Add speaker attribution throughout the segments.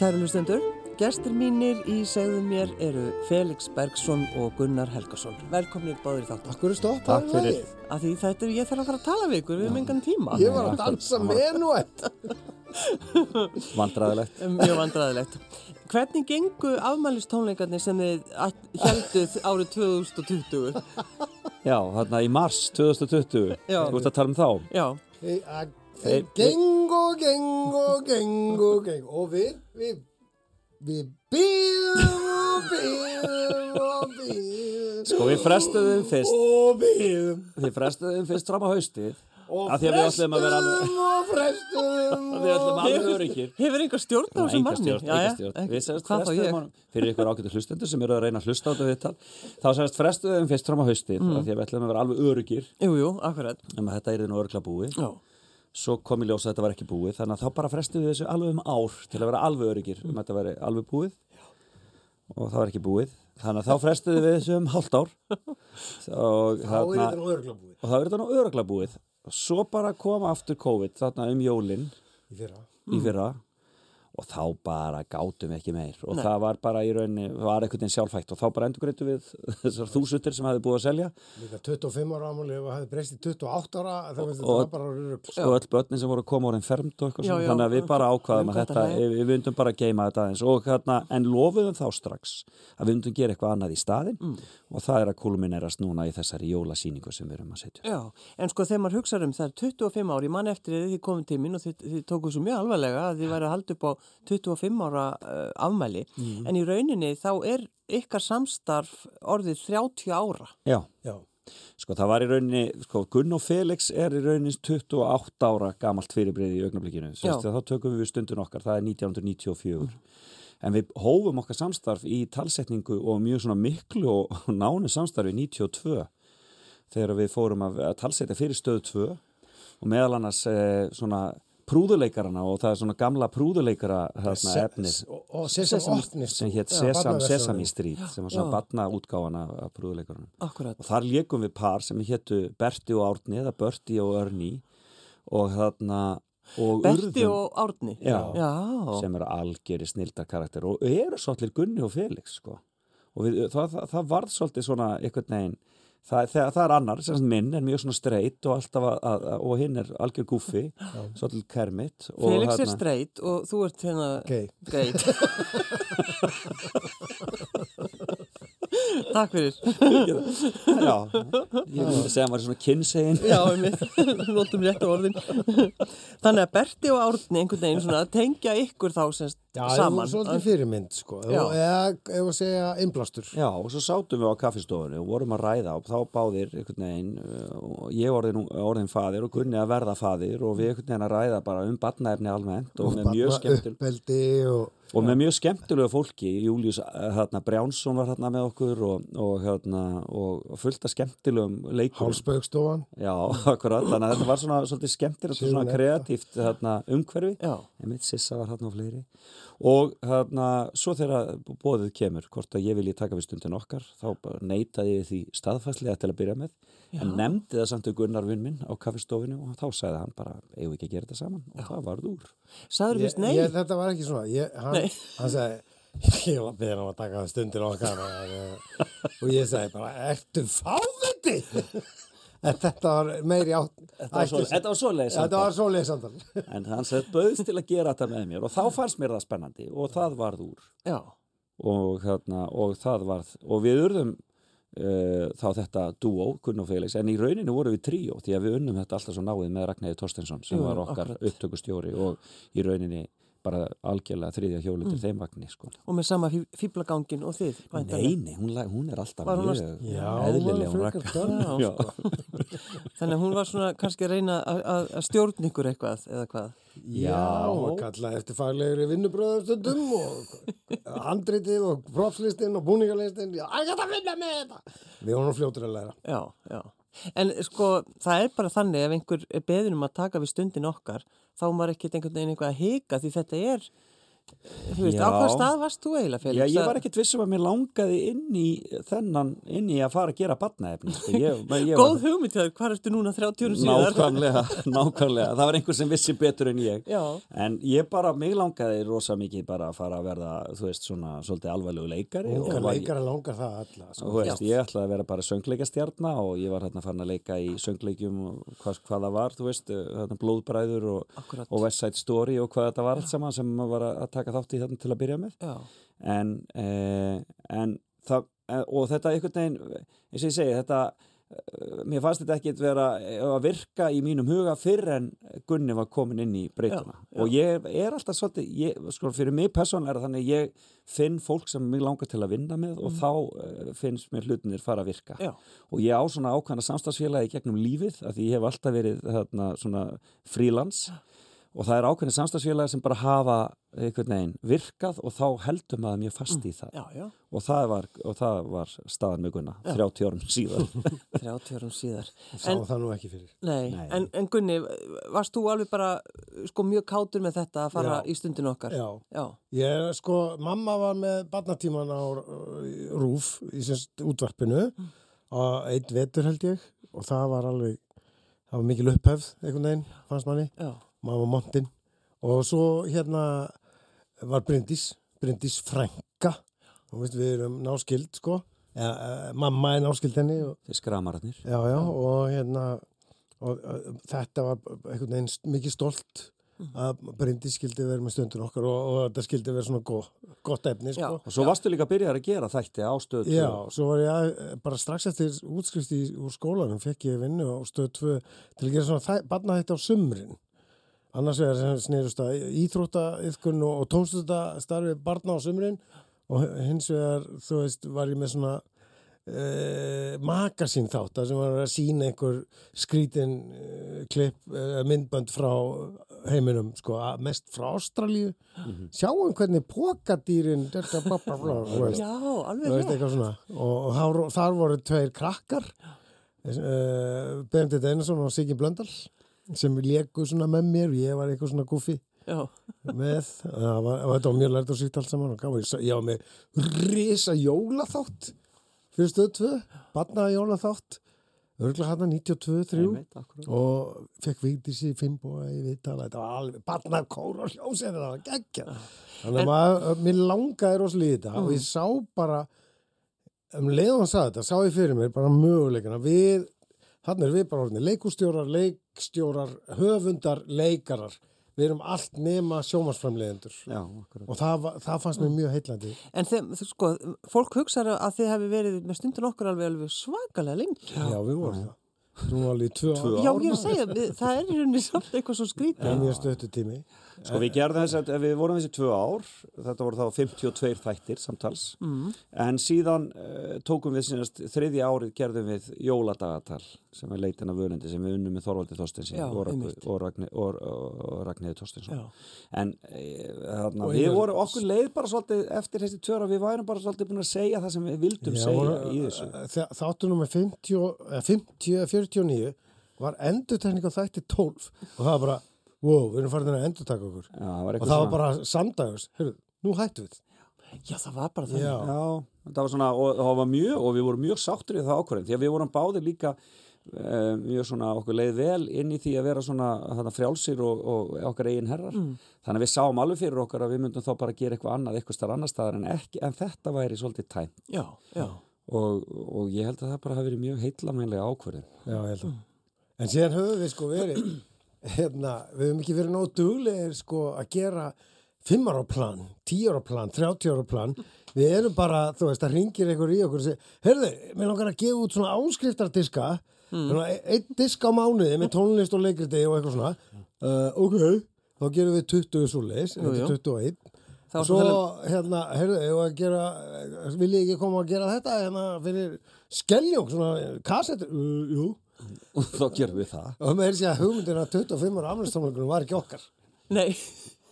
Speaker 1: Kæru hlustendur, gestir mínir í segðum mér eru Felix Bergson og Gunnar Helgason. Velkomnir báðir í þáttan.
Speaker 2: Akkur er
Speaker 3: Takk
Speaker 2: stoppaði
Speaker 3: fyrir.
Speaker 2: lagið?
Speaker 1: Af því þetta er, ég þarf að fara að tala við ykkur, við höfum engan tíma.
Speaker 2: Ég var að dansa menuett.
Speaker 3: vandræðilegt
Speaker 1: Um, Mjög vandræðilegt. Hvernig gengu afmælistónleikarnir sem þið helduð árið 2020?
Speaker 3: Já, þarna í mars 2020
Speaker 1: Já.
Speaker 3: Þú ert að tala um þá
Speaker 1: Já,
Speaker 3: Hey,
Speaker 2: Þeir gengu, gengu, gengu, gengu. Og við, við, við býðum og býðum og býðum.
Speaker 3: Sko, við frestuðum fyrst
Speaker 2: Og býðum.
Speaker 3: Þið frestuðum fyrst fram á haustið
Speaker 2: Og
Speaker 3: Af því að við ætlum að vera alveg-
Speaker 2: frestuðum og frestuðum
Speaker 3: Við ætlum
Speaker 2: og-
Speaker 3: alveg öryggir
Speaker 1: hefur einhver stjórn á þessum
Speaker 3: Enga
Speaker 1: manni?
Speaker 3: stjórn, enga stjórn. Við semst
Speaker 1: Hvað þá
Speaker 3: frestuðum
Speaker 1: ég?
Speaker 3: honum fyrir ykkur ágætu hlustendur sem eru að reyna að hlusta á þetta viðtal þá semst frestuðum fyrst fram á haustið
Speaker 1: Mm.
Speaker 3: af því að við ætlum að vera alveg öryggir
Speaker 1: Jú, jú, akkurat.
Speaker 3: um að þetta er nú örgla búið
Speaker 1: Já.
Speaker 3: svo kom í ljós að þetta var ekki búið þannig að þá bara frestuðum við þessu alveg um ár til að vera alveg öryggir um að þetta veri alveg búið og það var ekki búið þannig að þá frestuðum við þessu um hálft ár og
Speaker 2: Þá er
Speaker 3: þarna-
Speaker 2: þetta nú örgla búið.
Speaker 3: og það verður þetta nú öruglega búið og svo bara kom aftur COVID þarna um jólin
Speaker 2: Í fyrra.
Speaker 1: Mm.
Speaker 3: í fyrra og þá bara gátum við ekki meir og það var bara í rauninni, var einhvern veginn sjálfætt og þá bara endurgreitu við þessar þúsundir sem hefði búið að selja
Speaker 2: Líka 25 ára ámúli hefur hafði breyst í 28 ára. Það veist þetta
Speaker 3: Og-
Speaker 2: var bara örgla.
Speaker 3: og öll börnin sem voru að koma orðin fermt og eitthvað
Speaker 1: Já,
Speaker 3: svona,
Speaker 1: já.
Speaker 3: þannig að við bara ákvaðum
Speaker 1: Við
Speaker 3: að
Speaker 1: gott
Speaker 3: þetta,
Speaker 1: að hlæja.
Speaker 3: við, við vundum bara að geima þetta aðeins og hérna, en lofuðum þá strax að við vundum gera eitthvað annað í staðin
Speaker 1: Mm.
Speaker 3: og það er að kulminerast núna í þessari jólasýningu sem við erum að setja.
Speaker 1: Já, en sko þegar maður hugsaður um það er 25 ári, mann eftir því þið komum tíminn og þið, þið tókuð svo mjög alvarlega að þið væri að halda upp á 25 ára uh, afmæli,
Speaker 3: Mm.
Speaker 1: en í rauninni þá er ykkar samstarf orðið 30 ára.
Speaker 3: Já.
Speaker 2: Já.
Speaker 3: Sko það var í rauninni, sko Gunn og Felix er í rauninni 28 ára gamalt fyrirbreyði í augnablikinu.
Speaker 1: Já.
Speaker 3: Sérst, þá tökum við stundun okkar, það er 1994. En við hófum okkar samstarf í talsetningu og mjög svona miklu og og nánu samstarfi 92 þegar við fórum að, að talsetja fyrir stöðu 2 og meðal annars eh, svona prúðuleikarana og það er svona gamla prúðuleikara þarna
Speaker 2: Se-
Speaker 3: efnið
Speaker 2: s- Og og Sesam Ortnist.
Speaker 3: sem hétt Sesam, Sesam í strít sem var svona batna útgáfana af prúðuleikarunum
Speaker 1: Akkurat.
Speaker 3: og þar lékum við par sem héttu Berti og Árni eða Berti og Örni og þarna og
Speaker 1: Berti
Speaker 3: urðum
Speaker 1: og Árni.
Speaker 3: Já.
Speaker 1: Já,
Speaker 3: sem eru algjörði snildar karakter og eru svolítið Gunni og Felix sko. og við, það, það, það varð svolítið svona einhvern veginn Það, það, það er annar, sem sagt minn er mjög svona streitt og alltaf að, að, og hinn er algjör guffi, svolítið kermit og
Speaker 1: Felix er
Speaker 3: þarna-
Speaker 1: streit og þú ert hérna
Speaker 2: Gay.
Speaker 1: gay. Takk fyrir.
Speaker 3: Já, ég myndi segja að maður er svona kynsegin
Speaker 1: Já, einmitt, notum rétt á orðin. Þannig að Berti og Árni einhvern veginn svona tengja ykkur þá sem
Speaker 2: Já, það
Speaker 1: saman.
Speaker 2: var svolítið fyrirmynd, sko.
Speaker 1: Já.
Speaker 2: Eða, ef að segja, innblástur.
Speaker 3: Já, og svo sátum við á kaffistofunni og vorum að ræða og þá báðir einhvern veginn, uh, og ég orðin, orðin faðir og Gunni að verða faðir og við einhvern veginn að ræða bara um batnaefni almennt og, með, mjög skemmtil,
Speaker 2: uppeldi og
Speaker 3: og með mjög skemmtilegu fólki, Július uh, hérna, Brjánsson var hérna með okkur og, og, hérna, og fullt af skemmtilegum leikur.
Speaker 2: hálsbaugstofan
Speaker 3: Já, akkurat, þannig að þetta var svona svolítið skemmtilegt og svona
Speaker 2: Sigurletta.
Speaker 3: kreatíft þarna, umhverfi
Speaker 1: Já.
Speaker 3: einmitt Sissa var hérna á fleiri og þarna, svo þegar bóðið kemur hvort að ég vilji taka við stundin okkar þá bara neitaði ég því staðfæslega til að byrja með, en nefndi það samt við Gunnar vinn minn á kaffistofinu og þá sagði hann bara, eigum við ekki að gera þetta saman og það varð úr.
Speaker 1: Saður
Speaker 2: ég,
Speaker 1: fyrst nei?
Speaker 2: ég, þetta var ekki svona ég, hann,
Speaker 1: Nei.
Speaker 2: hann sagði ég var beðin á að taka það stundir okkar og, og ég sagði bara ertu fáviti en þetta var meiri átt
Speaker 3: Þetta var svo- Þetta var svo leiðis.
Speaker 2: þetta var svo leiðsandal já,
Speaker 3: En hann sagði bauðst til að gera þetta með mér og þá fannst mér það spennandi og það varð úr.
Speaker 1: Já,
Speaker 3: og, hérna, og það varð og við urðum uh, þá þetta duo, Gunn og Felix en í rauninu voru við tríó því að við unnum þetta alltaf svo náið með Ragnæði Torstensson sem
Speaker 1: Jú,
Speaker 3: var okkar
Speaker 1: akkurat.
Speaker 3: upptökustjóri og í rauninu bara algjörlega þriðja hjólindir mm. þeim vagnir sko.
Speaker 1: og með sama fí- fíblagangin og þið. væntanlega.
Speaker 3: Nei, nei, hún, la- hún er alltaf
Speaker 1: Var hún að-
Speaker 3: mjög
Speaker 2: maður
Speaker 3: eðlilega hún
Speaker 2: frekar
Speaker 3: Ragnar
Speaker 2: dörr.
Speaker 1: Já,
Speaker 3: Já.
Speaker 1: Þannig að hún var svona kannski að reyna að- að að stjórn ykkur eitthvað eða hvað.
Speaker 2: já, og kallaði eftir faglegri vinnubröðum stundum og handritið og propslistin og búningarlistin já, ég gæti að vinna með þetta við vorum fljótur að læra
Speaker 1: Já, já. En sko, það er bara þannig ef einhver er beðin um að taka við stundin okkar, þá er maður ekkert einhvern veginn eitthvað að hika því þetta er, Þú veist,
Speaker 3: Já.
Speaker 1: á hvað stað varst þú eiginlega, Felix?
Speaker 3: Já, ég var ekkert vissum að mér langaði inn í þennan, inn í að fara að gera batnaefni. Ég, ég var-
Speaker 1: Góð hugmynd hjá þér, hvað ertu núna 30 árum síðar?
Speaker 3: Nákvæmlega, nákvæmlega. Það var einhver sem vissi betur en ég.
Speaker 1: Já.
Speaker 3: En ég bara, mig langaði rosa mikið bara að fara að verða, þú veist, svona svolítið alvarlegu leikari. og
Speaker 2: Ungar
Speaker 3: var-
Speaker 1: sko.
Speaker 2: leikara langar það alla
Speaker 3: og
Speaker 2: sko.
Speaker 3: Þú veist, ég ætlaði að vera bara söngleikastjarnar og ég var hérna farin að leika í söngleikjum og hvað, hvað það var, þú veist, hérna blóðbræður og,
Speaker 1: Akkúrat.
Speaker 3: og West Side Story og hvað þetta var allt saman sem maður var að taka þátt í þarna til að byrja með
Speaker 1: Já,
Speaker 3: en, eh, en það, eh, og þetta einhvern veginn eins og ég segi, þetta eh, mér fannst þetta ekkit vera eh, að virka í mínum huga fyrr en Gunni var komin inn í breytuna
Speaker 1: Já, já.
Speaker 3: og ég er alltaf svolítið, ég, sko fyrir mig persónlega er það þannig að ég finn fólk sem mig langar til að vinna með og þá eh, finnst mér hlutinir fara að virka
Speaker 1: Mhm. já,
Speaker 3: og ég á svona ákvæmna samstagsfélagi gegnum lífið af því ég hef alltaf verið þarna, svona frílans og það er ákveðni samstagsfélagi sem bara hafa einhvern veginn virkað og þá heldur maður mjög fast í það
Speaker 1: já, já,
Speaker 3: og það var, og það var staðan með Gunna 30 árum síðan
Speaker 1: 30 árum síðar.
Speaker 2: Sá
Speaker 1: En,
Speaker 2: það nú ekki fyrir
Speaker 1: nei,
Speaker 3: Nei.
Speaker 1: En, en Gunni, varst þú alveg bara sko mjög kátur með þetta að fara
Speaker 2: Já.
Speaker 1: í stundinu okkar?
Speaker 2: Já,
Speaker 1: Já,
Speaker 2: ég sko, mamma var með barnatíman á uh, Rúf í sérst útvarpinu og eitt vetur held ég og það var alveg, það var mikil upphefð einhvern veginn, fannst manni
Speaker 1: já,
Speaker 2: mamma Montin og svo hérna var Bryndís Bryndís Frænka og veist, við erum náskild sko ja, mamma er náskild henni og,
Speaker 3: þeir skramararnir
Speaker 2: já, já, og hérna og, og, þetta var einhvern veginn st- mikið stolt að Bryndís skildi verið með stundin okkar og, og þetta skildi verið svona gó, gott efni sko.
Speaker 3: og svo varstu líka að byrja að gera þætti ástöð
Speaker 2: Já, svo var ég að, eh, bara strax eftir útskrift í, úr skólanum fekk ég vinnu á stöð 2 til að gera svona barna þetta á sumrin. Annars vegar sem snerust að íþróttaiðkun og, og tónstöðastarfi barna á sumrin og hins vegar, þú veist, var ég með svona uh, makasín þátt þar sem var að sína einhver skrítin uh, klipp, uh, myndbönd frá heiminum, sko, að- mest frá Ástralíu. Sjáum hvernig pokadýrin, þetta, bla, bla, bla, þú veist.
Speaker 1: já,
Speaker 2: Þú
Speaker 1: alveg
Speaker 2: veist
Speaker 1: rétt.
Speaker 2: eitthvað svona og, og þar, þar voru tveir krakkar uh, Benedikt Einarsson og Siggi Blöndal sem léku svona með mér og ég var eitthvað svona guffi
Speaker 1: Já,
Speaker 2: með Það var, og þetta var mjög lært og sýtt allt saman og gaman. Ég sa- ég var með risa jólaþátt fyrir stöð 2 batnaða jólaþátt örgulega hann 92-3 og fekk Vigdísi Fimboa í viðtala, þetta var alveg barnakór og hljómsið, þetta var geggja þannig að maður, mér langaði rosalítið þetta og ég sá bara um leið og hann sagði þetta, sá ég fyrir mér bara möguleikana, við þannig er við bara orðinni, leikustjórar, leikstjórar höfundar, leikarar við erum allt nema sjómasframleiðendur
Speaker 3: Já, akkurat.
Speaker 2: og það, var- það fannst mér mjög heitlandi
Speaker 1: en þeim, þú- sko, fólk hugsaður að þið hefði verið með stundinu okkar alveg alveg svakalega lengi.
Speaker 2: já, við vorum það, þú var alveg í tvö
Speaker 3: Tvö
Speaker 2: ár,
Speaker 1: Já, ég er að segja, við- það er í rauninni samt eitthvað svo skrítið.
Speaker 2: það er mjög stöttu tími
Speaker 3: Sko við gerðum þess að við vorum þessi tvö ár, þetta voru þá 52 þættir samtals, mm. en síðan uh, tókum við sínast þriðja árið gerðum við jóladagatal sem er leitin af völundi sem við unnum með Þorvaldi Þorsteinsson
Speaker 1: Já,
Speaker 3: og, Ragn,
Speaker 1: einmitt.
Speaker 3: og, Ragn, og, og, og Ragnhiði Þorsteinsson.
Speaker 1: Já.
Speaker 3: En eh, þarna,
Speaker 2: Og
Speaker 3: við
Speaker 2: Einar-
Speaker 3: vorum okkur leið bara svolítið eftir þessi tvö ára, við værum bara svolítið búin að segja það sem við vildum segja
Speaker 2: voru-
Speaker 3: í þessu.
Speaker 2: eh, þa- Þáttur nummer 50, eða 50 eh, eða 49 var endurtekning á þætti 12 og það var bara, wow, við erum farin að endurtaka okkur.
Speaker 3: Já, það
Speaker 2: og
Speaker 3: var eitthvað
Speaker 2: það var
Speaker 3: svona.
Speaker 2: bara samdags, heyrðu, nú hættum við.
Speaker 1: Já, það var bara
Speaker 2: Já,
Speaker 1: þannig.
Speaker 3: Já, það var svona, og það var mjög, og við vorum mjög sáttur í það ákvörðin, því að við vorum báðir líka eh, mjög svona, okkur leið vel inn í því að vera svona þarna frjálsir og, og okkar eigin herrar,
Speaker 2: Mm.
Speaker 3: þannig að við sáum alveg fyrir okkar að við myndum þá bara gera eitthvað annað eitthvað starf annar staðar en ekki, en þetta væri svolítið tæm
Speaker 1: Já, já,
Speaker 3: og, og ég held að það bara hafi verið mjög heitlamænlega ákvörðin.
Speaker 2: já, ég held að.
Speaker 1: Mm.
Speaker 2: En síðan höfum við sko verið, hérna, við höfum ekki verið nóg duglegir sko að gera fimmara plan, tíara plan, þrjátíara plan. Við erum bara, þú veist, það ringir einhver í okkur og segir, heyrðu, mér langar að gefa út svona áskriftardiska, mm. einn disk á mánuði með tónlist og leikriti og eitthvað svona. Uh, ok, þá gerum við 20 svo leis,
Speaker 1: Jú, jú.
Speaker 2: 21.
Speaker 1: Þá
Speaker 2: Og
Speaker 1: ertu
Speaker 2: svo,
Speaker 1: að um-
Speaker 2: hérna, heyrðu, ég var að gera, vil ég ekki koma að gera þetta, hérna, fyrir skeljók, svona, kassettur, uh, jú.
Speaker 3: Og þá gerum við það.
Speaker 2: Og með þess að segja hugmyndina 25 ára afmælistónleikunum var ekki okkar.
Speaker 1: nei,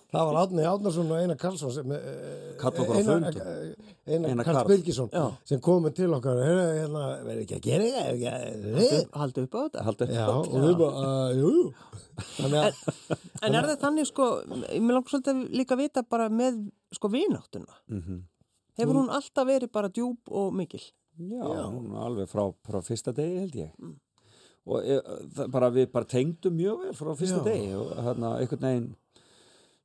Speaker 2: það var Átni Átnarsson og Einar Karlsson sem, eh,
Speaker 3: Kalla okkur á
Speaker 2: Einar,
Speaker 3: fund.
Speaker 2: eh, Einar,
Speaker 3: Einar
Speaker 2: Einar
Speaker 3: Karl.
Speaker 2: Karl Birgisson
Speaker 1: Já.
Speaker 2: sem komið til okkar "Heyrðu, hérna, verður ekki að gera eitthvað, er ekki að- eh?"
Speaker 1: Haldi upp á þetta.
Speaker 3: Haldið
Speaker 2: já, og við bara, uh, jú jú." þannig að
Speaker 1: En er það þannig sko, ég mér langar svolítið að líka vita bara með sko vináttuna.
Speaker 3: Mhm.
Speaker 1: Hefur hún alltaf verið bara djúb og mikil?
Speaker 3: Já, hún var alveg frá, frá fyrsta degi held ég
Speaker 1: Mm.
Speaker 3: og e, það- bara, við bara tengdum mjög vel frá fyrsta
Speaker 2: Já.
Speaker 3: degi og þarna einhvern veginn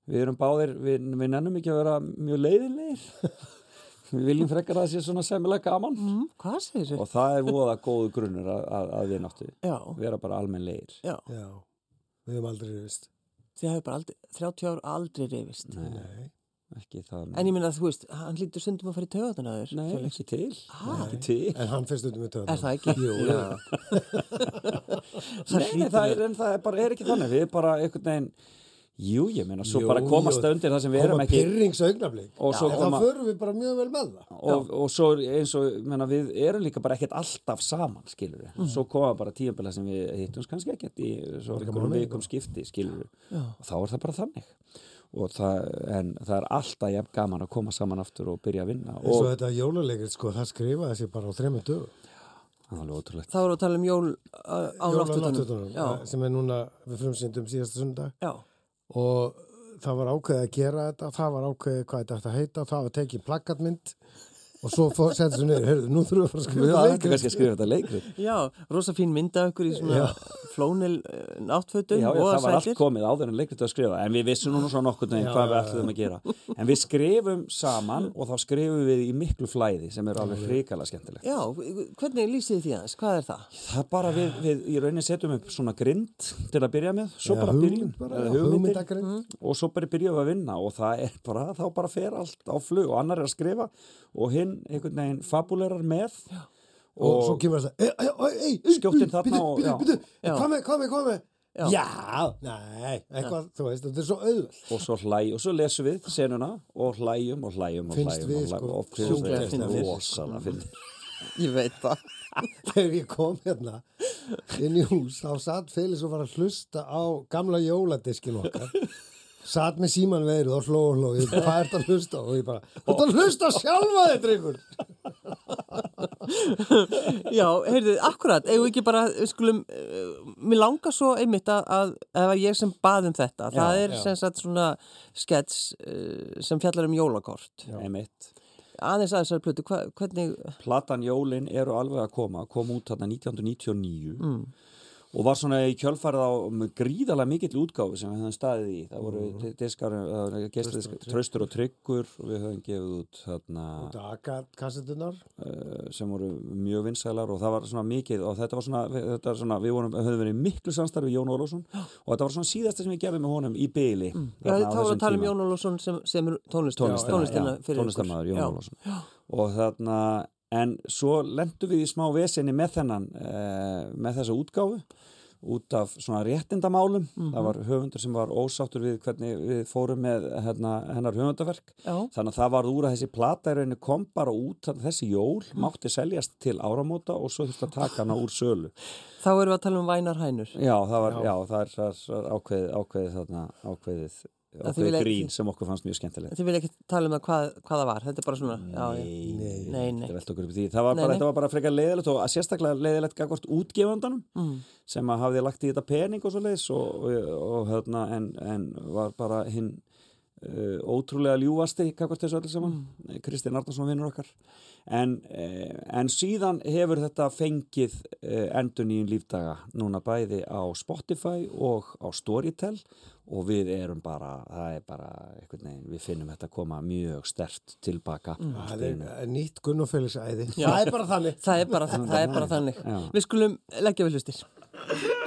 Speaker 3: við erum báðir, við, við nennum ekki að vera mjög leiðilegir við viljum frekar að það sé svona semilega gaman
Speaker 1: Mm, hvað segir þessu?
Speaker 3: og það er voða góðu grunnur að, að, að við náttu
Speaker 1: Já,
Speaker 3: vera bara almennlegir
Speaker 1: já.
Speaker 2: já, við hefum aldrei veist
Speaker 1: Þið hefur bara aldrei, 30 ár aldrei reyfist.
Speaker 2: Nei.
Speaker 3: ekki það,
Speaker 1: En ég minna að þú veist, hann lítur stundum að fara í töðan að þér.
Speaker 3: nei,
Speaker 1: Felix.
Speaker 3: ekki til
Speaker 1: Ha?
Speaker 3: ekki til
Speaker 2: en hann fyrst undir með töðan
Speaker 1: Er það ekki?
Speaker 2: jú,
Speaker 1: Já. það
Speaker 3: Nei, nei,
Speaker 1: hlýtur
Speaker 3: það
Speaker 1: að-
Speaker 3: er, en það er bara er ekki þannig við bara einhvern veginn jú, ég meina, svo
Speaker 2: Jú,
Speaker 3: bara komast
Speaker 2: jú.
Speaker 3: það undir það sem við
Speaker 2: koma
Speaker 3: erum ekki
Speaker 2: pyrringsaugnablik
Speaker 3: Og svo
Speaker 2: en
Speaker 3: koma-
Speaker 2: það förum við bara mjög vel með það
Speaker 3: og, og svo eins og menna, við erum líka bara ekkert alltaf saman skilur við,
Speaker 2: Mm.
Speaker 3: svo koma bara tíumbela sem við hittumst kannski ekkert í svo einhverjum
Speaker 2: mánuði,
Speaker 3: vikum skipti skilur við og þá er það bara þannig og það, en það er alltaf jafn gaman að koma saman aftur og byrja að vinna
Speaker 2: eins og
Speaker 3: og
Speaker 2: þetta jóluleikir, sko, það skrifaði sér bara á þremmu dögum
Speaker 3: það er alveg ótrúlegt
Speaker 1: Þá erum við að tala um jól uh, á
Speaker 2: Jólanáttutunum,
Speaker 1: náttúrunum. Já,
Speaker 2: eh, sem er núna við frumsýndum síðasta sundag
Speaker 1: já.
Speaker 2: og það var ákveðið að gera þetta það var ákveðið hvað þetta ætti að heita það var tekið plakatmynd og svo fór- settu svo niður, heyrðu, nú þurfum við að fara að skrifa um
Speaker 3: við ættum
Speaker 2: leikrit.
Speaker 3: kannski að skrifa þetta leikrit
Speaker 1: Já, rosa fín mynda okkur í svona flónil uh,
Speaker 2: Um
Speaker 1: náttfötum
Speaker 3: Já, já,
Speaker 1: og
Speaker 3: það var allt
Speaker 1: sælir.
Speaker 3: komið áður en leikrit að skrifa en við vissum nú svo nokkur neginn hvað við ætlum að gera en við skrifum saman og þá skrifum við í miklu flæði sem er alveg hrikalega skemmtilegt
Speaker 1: Já, hvernig lýsið þið því aðeins? Hvað er það?
Speaker 3: Það bara við, við í rauninni setjum upp svona grind til að byrja með, svo
Speaker 2: Já,
Speaker 3: bara
Speaker 2: hugmynd
Speaker 3: byrjum
Speaker 2: bara,
Speaker 3: eða
Speaker 2: já,
Speaker 3: hugmyndir
Speaker 2: hugmyndagrind.
Speaker 1: Mhm.
Speaker 3: og svo bara byrjum við að vinna og það er bara, þá bara fer allt á flug og annar er að skrifa og hinn einhvern veginn fabulerar með
Speaker 2: og, svo kemur það ei, ei, ei, ei,
Speaker 3: Skjóttinn þarna
Speaker 2: bíddu,
Speaker 3: og-
Speaker 2: bíddu,
Speaker 3: já.
Speaker 2: bíddu,
Speaker 1: Já.
Speaker 2: hvað með, hvað með, hvað með
Speaker 1: Já.
Speaker 2: já, nei, eitthvað, þú veist þetta er svo auðvöld
Speaker 3: og svo hlæ, og svo lesum við senuna og hlæjum og hlæjum og
Speaker 2: Finnst
Speaker 3: hlæjum
Speaker 2: við,
Speaker 3: og hlæjum
Speaker 2: sko,
Speaker 3: og finnst
Speaker 1: sjúklega
Speaker 3: við
Speaker 1: fyndið.
Speaker 3: rosalega finnir
Speaker 1: Ég veit það.
Speaker 2: þegar ég kom hérna inn í hús, þá satt Félix og var að hlusta á gamla jóladiskin okkar satt með síman veirið og hló og hló, ég, hvað ert að hlusta á?" og ég bara, þú ert að hlusta á sjálfa þig drengur
Speaker 1: Já, heyrðu, akkurat, eigum við ekki bara, við skulum, uh, mér langar svo einmitt að, að það var ég sem bað um þetta, það er
Speaker 2: já.
Speaker 1: sem sagt svona skets uh, sem fjallar um jólakort.
Speaker 3: emitt
Speaker 1: Aðeins aðeins að plötu, hva, hvernig,
Speaker 3: platan Jólin eru alveg að koma kom út þarna 1999
Speaker 1: Mm.
Speaker 3: og var svona í kjölfarið á um, gríðalega mikill útgáfi sem við höfum staðið í það voru mm. diskar, uh, gestadiskar, tröstur og tryggur og við höfum gefið út þarna,
Speaker 2: Dagat-kassetunar
Speaker 3: uh, sem voru mjög vinsælar og það var svona mikið og þetta var svona, við- þetta var svona við vorum, höfum verið í miklu samstarfi við Jón Ólafsson og þetta var svona síðasta sem við gerðum með honum í byli mm.
Speaker 1: já, þá erum við að tala um Jón Ólafsson sem, sem er tónlistina, tónlistina fyrir ykkur.
Speaker 3: tónlistamæður Jón
Speaker 1: Já.
Speaker 3: Ólafsson og þarna en svo lendum við í smá vesinni með þennan eh, með þessa útgáfu út af svona réttindamálum
Speaker 1: Mhm.
Speaker 3: það var höfundur sem var ósáttur við hvernig við fórum með hérna, hennar höfundaverk
Speaker 1: Já.
Speaker 3: þannig að það varð úr að þessi plata í rauninni kom bara út þannig að þessi jól
Speaker 1: Mhm.
Speaker 3: mátti seljast til áramóta og svo þurfti að taka hana úr sölu
Speaker 1: Þá erum við að tala um Vænar Hænur.
Speaker 3: já það, var, já. það er, það er ákveðið ákveðið, þarna, ákveðið,
Speaker 1: þið viljið
Speaker 3: ákveðið
Speaker 1: ekki-
Speaker 3: grín sem okkur fannst mjög skemmtilegt
Speaker 1: Þið vil ekki tala um það hvað, hvað það var, þetta er bara svona, já, já.
Speaker 3: nei,
Speaker 1: Nei, nei.
Speaker 3: þetta velta okkur upp í því það var
Speaker 1: Nei,
Speaker 3: bara,
Speaker 1: nei.
Speaker 3: þetta var bara frekar leiðilegt og að sérstaklega leiðilegt gagvart útgefandanum mm. sem að hafði lagt í þetta pening og svo leiðis og, og, og hérna en, en var bara hinn uh, ótrúlega ljúfasti gagvart þessu öllu saman,
Speaker 1: Mm.
Speaker 3: Kristinn Arnarsson vinnur okkar en, uh, en síðan hefur þetta fengið uh, endur nýjum lífdaga núna bæði á Spotify og á Storytel og við erum bara, það er bara einhvern veginn, við finnum þetta koma mjög stert tilbaka
Speaker 1: Mm.
Speaker 3: allt
Speaker 2: Það
Speaker 3: í
Speaker 2: er
Speaker 3: einu.
Speaker 2: eh, nýtt Gunn og Félix æði. Það er bara þannig.
Speaker 1: Það er bara, það er bara þannig. Við skulum leggja við hlustir.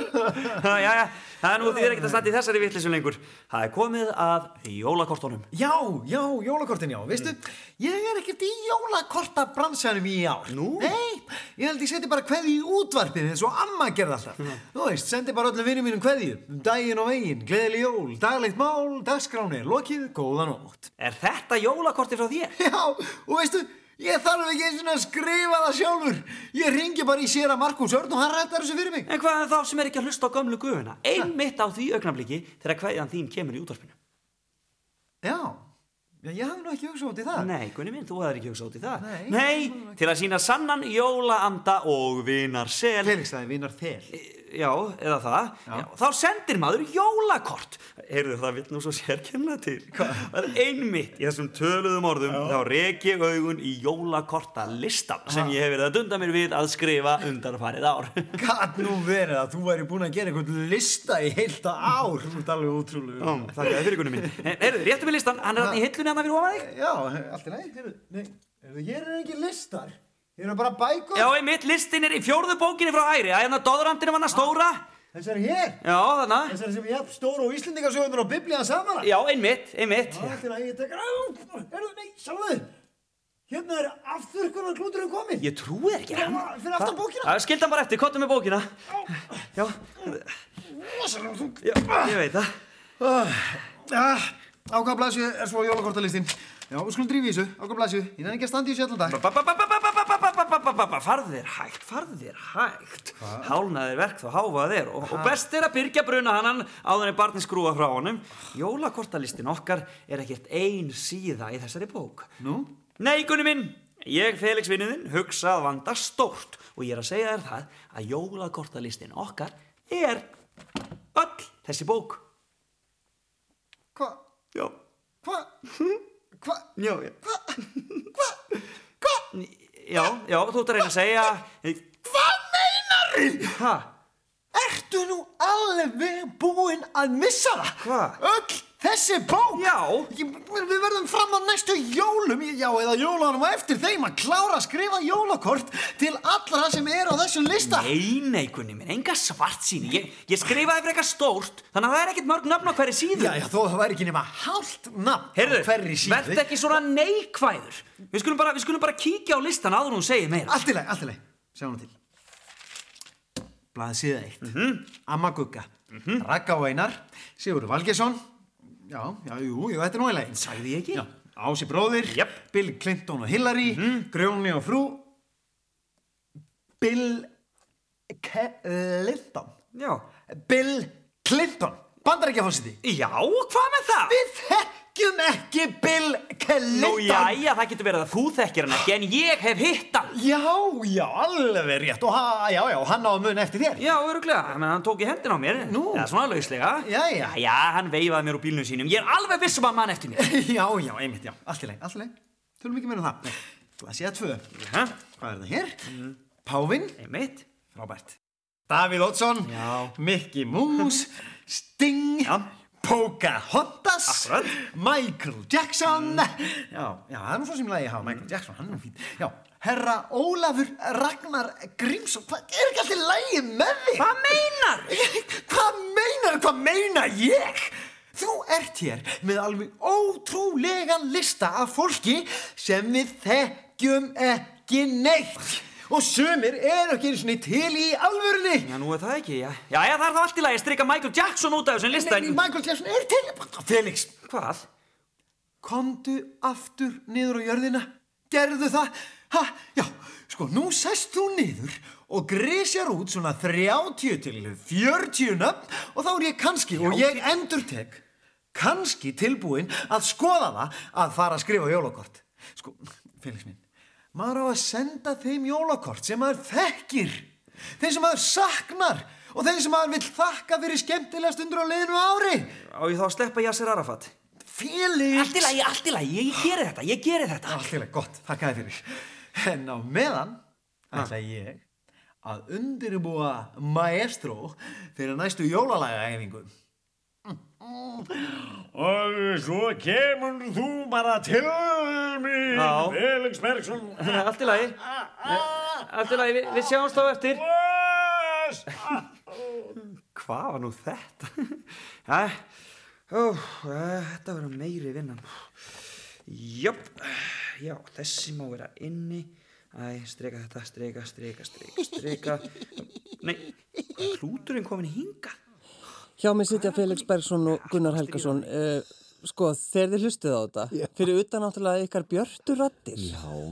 Speaker 4: Jæja, það er nú því þér ekkert að standa í þessari vittlisum lengur. Það er komið að jólakortunum.
Speaker 5: Já, já, jólakortin, já, veistu, ég er ekkert í jólakortabransanum í ár. Nú? Nei, ég held ég seti bara kveði í útvarpinu eins og amma gerði alltaf. Þú veist, sendi bara öllum vinnum mínum kveðið, um daginn og veginn, gleðileg jól, daglegt mál, dagskráni, lokið, góðan ótt.
Speaker 4: Er þetta jólakorti frá þér?
Speaker 5: Já, og veistu, ég þarf ekki eins og að skrifa það sjálfur. Ég ringi bara í sér að Markus Örn og hann rættar þessu fyrir mig.
Speaker 4: En hvað er þá sem er ekki að hlusta á gömlu guðuna? Einmitt á því augnabliki þegar kveðjan þín kemur í útvarpinu.
Speaker 5: Já, já ég hafði nú ekki hugsað út í það.
Speaker 4: Nei, Gunni minn, þú hefðir ekki hugsað út í það.
Speaker 5: Nei.
Speaker 4: til að sína sannan jólaanda og vinar sel.
Speaker 5: Felix, það er vinar þel.
Speaker 4: Já, eða það. Já. þá sendir maður jólakort. Heyrðu, það vill nú svo sérkennlega til. Hva? Það er einmitt í þessum töluðum orðum, þá reki ég augun í jólakorta sem ég hef verið að dunda mér við að skrifa undarfarið ár.
Speaker 5: Gat nú verið að þú væri búin að gera einhvern lista í heilta ár. Þú ert alveg
Speaker 4: Já,
Speaker 5: útrúlegu.
Speaker 4: Þakka þér fyrir Gunni minn. Heyrðu, réttu mig listan, hann er hann í hillunni hann fyrir ofan þig.
Speaker 5: Já, allt er nægt. Nei, heyrðu, hér eru ekki listar. Hér eru bara bækur.
Speaker 4: Já, einmitt, listin er í fjórðu bókinni frá æri, að hérna doðrandinu var hann stóra.
Speaker 5: Þessar eru hér.
Speaker 4: Já, þannig að...
Speaker 5: Þessar sem ég hef stóru og Íslendingasögundur og biblíðan saman.
Speaker 4: Já, einmitt, einmitt.
Speaker 5: Það er allt í lagi, ég tek á, herðu, nei, sjáðu, hérna er afturkunar klúturinn kominn.
Speaker 4: Ég trúi þér ekki hann.
Speaker 5: Fyrir aftan bókina.
Speaker 4: Það skildi hann bara eftir, kottum með bókina. Já,
Speaker 5: Rosalega þung.
Speaker 4: já, ég veit það.
Speaker 5: Ah, Á hvaða blæsju er svo jólakortalistin? Já, við skulum drífi í þessu, á hvaða blæsju, ég nefn ekki að standa í þessu allan dag.
Speaker 4: Ba- ba- ba- ba- ba- ba- ba- ba- ba- ba- ba- ba- ba- Farðu þér hægt, farðu þér hægt. Hálnaðir verk þá háfaðu þér og, og best er að byrgja bruna hannan áður en barni skrúa frá honum. Jólakortalistin okkar er ekkert ein síða í þessari bók.
Speaker 5: Nú?
Speaker 4: Nei, Gunni minn, ég, Felix vinnuðinn, hugsa að vanda stórt og ég er að segja þér það að jólakortalistin okkar er öll þessi bók.
Speaker 5: Hva,
Speaker 4: Já,
Speaker 5: hva, hva,
Speaker 4: já, já.
Speaker 5: hva, hva, hva?
Speaker 4: Já, já, þú ert að reyna að segja...
Speaker 5: Hvað meinaru?
Speaker 4: Hæ?
Speaker 5: Ertu nú alveg búinn að missa það?
Speaker 4: Hvað?
Speaker 5: Öll þessi bók?
Speaker 4: Já.
Speaker 5: Ég, við verðum fram að næstu jólum, já, eða jólunum á eftir þeim að klára að skrifa jólakort til allra sem er á þessum lista.
Speaker 4: Nei, nei, Gunni minn, enga svart síni. Ég, ég skrifaði fyrir eitthvað stórt, þannig að það er ekkert mörg nöfn á hverju síðu.
Speaker 5: Já, já, þó það væri ekki nema hálft nafn á
Speaker 4: Heyrðu,
Speaker 5: hverri síðu.
Speaker 4: verð ekki svona neikvæður. Við skulum bara, við skulum bara kíkja á listan áður en hún segir meira.
Speaker 5: Allt í lagi, allt í lagi. Sjá hana til. Blaðið síða eitt.
Speaker 4: Mhm.
Speaker 5: Amma Gugga. Ragga og Einar. Sigur Valgesson. Já, já, jú, jú, þetta er nú í lagi.
Speaker 4: Sagði ég ekki?
Speaker 5: Já, Ási bróðir,
Speaker 4: Jep. Mhm.
Speaker 5: Bill Clinton og Hillary, Grjóni og frú, Bill Clinton.
Speaker 4: Já.
Speaker 5: Bill Clinton, bandarækjafósiti.
Speaker 4: Já, hvað með það?
Speaker 5: Við þekkjum ekki Bill Clinton.
Speaker 4: Nú jæja, það getur verið að þú þekkir hann ekki en ég hef hitt hann.
Speaker 5: Já, já, alveg rétt og ha, já, já, hann á að muna eftir þér
Speaker 4: Já, öruglega, menn hann tók í hendin á mér.
Speaker 5: Nú.
Speaker 4: Eða svona lauslega.
Speaker 5: Jæja.
Speaker 4: Jæja, hann veifaði mér úr bílnum sínum. Ég er alveg viss um að mann eftir mér.
Speaker 5: Já, já, einmitt, já, allt í leið, allt í leið Tölum ekki meira um það Glasið að tvö,
Speaker 4: Hæ?
Speaker 5: hvað er það hér?
Speaker 4: Mhm.
Speaker 5: Pávinn,
Speaker 4: Einmitt.
Speaker 5: Robert Davíð Oddsson
Speaker 4: Já.
Speaker 5: Mickey Mouse Sting
Speaker 4: Já.
Speaker 5: Pocahontas
Speaker 4: Akkurat.
Speaker 5: Michael Jackson
Speaker 4: Mhm.
Speaker 5: Já, já, það er nú svo sem lagi að hafa Michael Jackson, hann er nú fín Já, herra Ólafur Ragnar Grímsson Hvað er ekki allir lagi með þig?
Speaker 4: Hvað meinar?
Speaker 5: Hvað meinar, hvað meina ég? Þú ert hér með alveg ótrúlegan lista af fólki sem við þekkjum ekki neitt. Og sömur eru ekki einu sinni til í alvörunni.
Speaker 4: Já, nú er það ekki, já. Jæja, það er það allt í lagi að strika Michael Jackson út af þessum lista.
Speaker 5: Nei, Michael Jackson er til. Felix,
Speaker 4: Hvað?
Speaker 5: komdu aftur niður á jörðina. Gerðu það. Ha, já, sko, nú sest þú niður og grisjar út svona 30 til 40 nöfn og þá er ég kannski, og ég endur tek, kannski tilbúin að skoða það að fara að skrifa jólakort. Sko, Felix minn, maður á að senda þeim jólakort sem maður þekkir, þeim sem maður saknar og þeim sem maður vill þakka fyrir skemmtilega stundur á leiðinu ári.
Speaker 4: Á ég þá að sleppa Yasser Arafat?
Speaker 5: Felix!
Speaker 4: Allt í lagi, allt í lagi, ég geri þetta, ég geri þetta.
Speaker 5: Allt í lagi, gott, þakka þér fyrir. En á meðan ætla ég að undirbúa maestro fyrir næstu jólalagaæfingu.
Speaker 6: Og svo kemur þú bara til mín,
Speaker 4: Já.
Speaker 6: Felix Bergson.
Speaker 4: Allt í lagi, allt í lagi, við, við sjáumst þá eftir.
Speaker 6: Bless!
Speaker 4: Hvað var nú þetta? Æ, ó, æ, þetta verður meiri vinnan. Jöp, já, þessi má vera inni. Æ, streka þetta, streka, streka, streka, streka. Nei, hvað er klúturinn komin hingað?
Speaker 1: Hjá mig sitja Felix Bergson og Gunnar Helgason uh, sko þegar þið hlustið á þetta fyrir utan náttúrulega ykkar björtu rattir
Speaker 3: Já,
Speaker 1: er,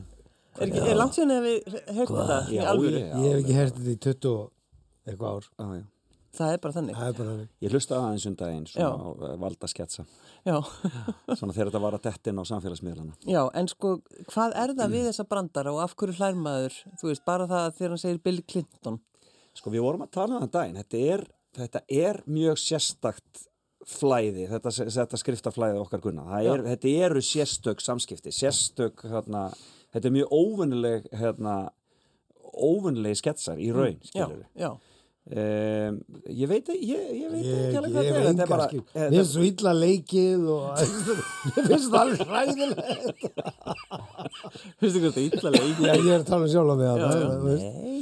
Speaker 1: ekki- er langt sérna við heyrta þetta í
Speaker 3: já,
Speaker 1: alvöru
Speaker 3: ég-
Speaker 2: Ég hef ekki hert þetta í 20 og eitthvað ár
Speaker 3: já, já.
Speaker 1: það er bara þannig
Speaker 2: það er bara þannig.
Speaker 3: Ég hlusta aðeins um daginn
Speaker 1: Já.
Speaker 3: svona á valda sketsa
Speaker 1: já.
Speaker 3: svona þegar þetta var að dettin á samfélagsmiðlana
Speaker 1: já, en sko, hvað er það við þessa brandara og af hverju hlærmaður þú veist, bara það að þegar hann segir Bill Clinton
Speaker 3: Sko við vorum að tala um það daginn þetta er, þetta er mjög sérstakt flæði, þetta, þetta skriftaflæði okkar gunna, Það er, þetta eru sérstök samskipti, sérstök hérna, þetta er mjög óvennileg hérna, óvennilegi sketsar í raun,
Speaker 1: já,
Speaker 3: skilur við
Speaker 1: já,
Speaker 3: Um, ég veit, ekki- ég, ég veit
Speaker 2: Ég,
Speaker 3: ekki
Speaker 2: ég
Speaker 3: alveg
Speaker 2: hef
Speaker 3: hvað þetta er, þetta
Speaker 2: enga
Speaker 3: er bara,
Speaker 2: skil.
Speaker 3: eh,
Speaker 2: Mér finnst svo illa leikið og mér finnst það alveg hræðilegt.
Speaker 1: veistu hvað þetta er illa
Speaker 2: Já,
Speaker 1: leik
Speaker 2: ég er að tala um sjálf á mig að það.
Speaker 3: Nei,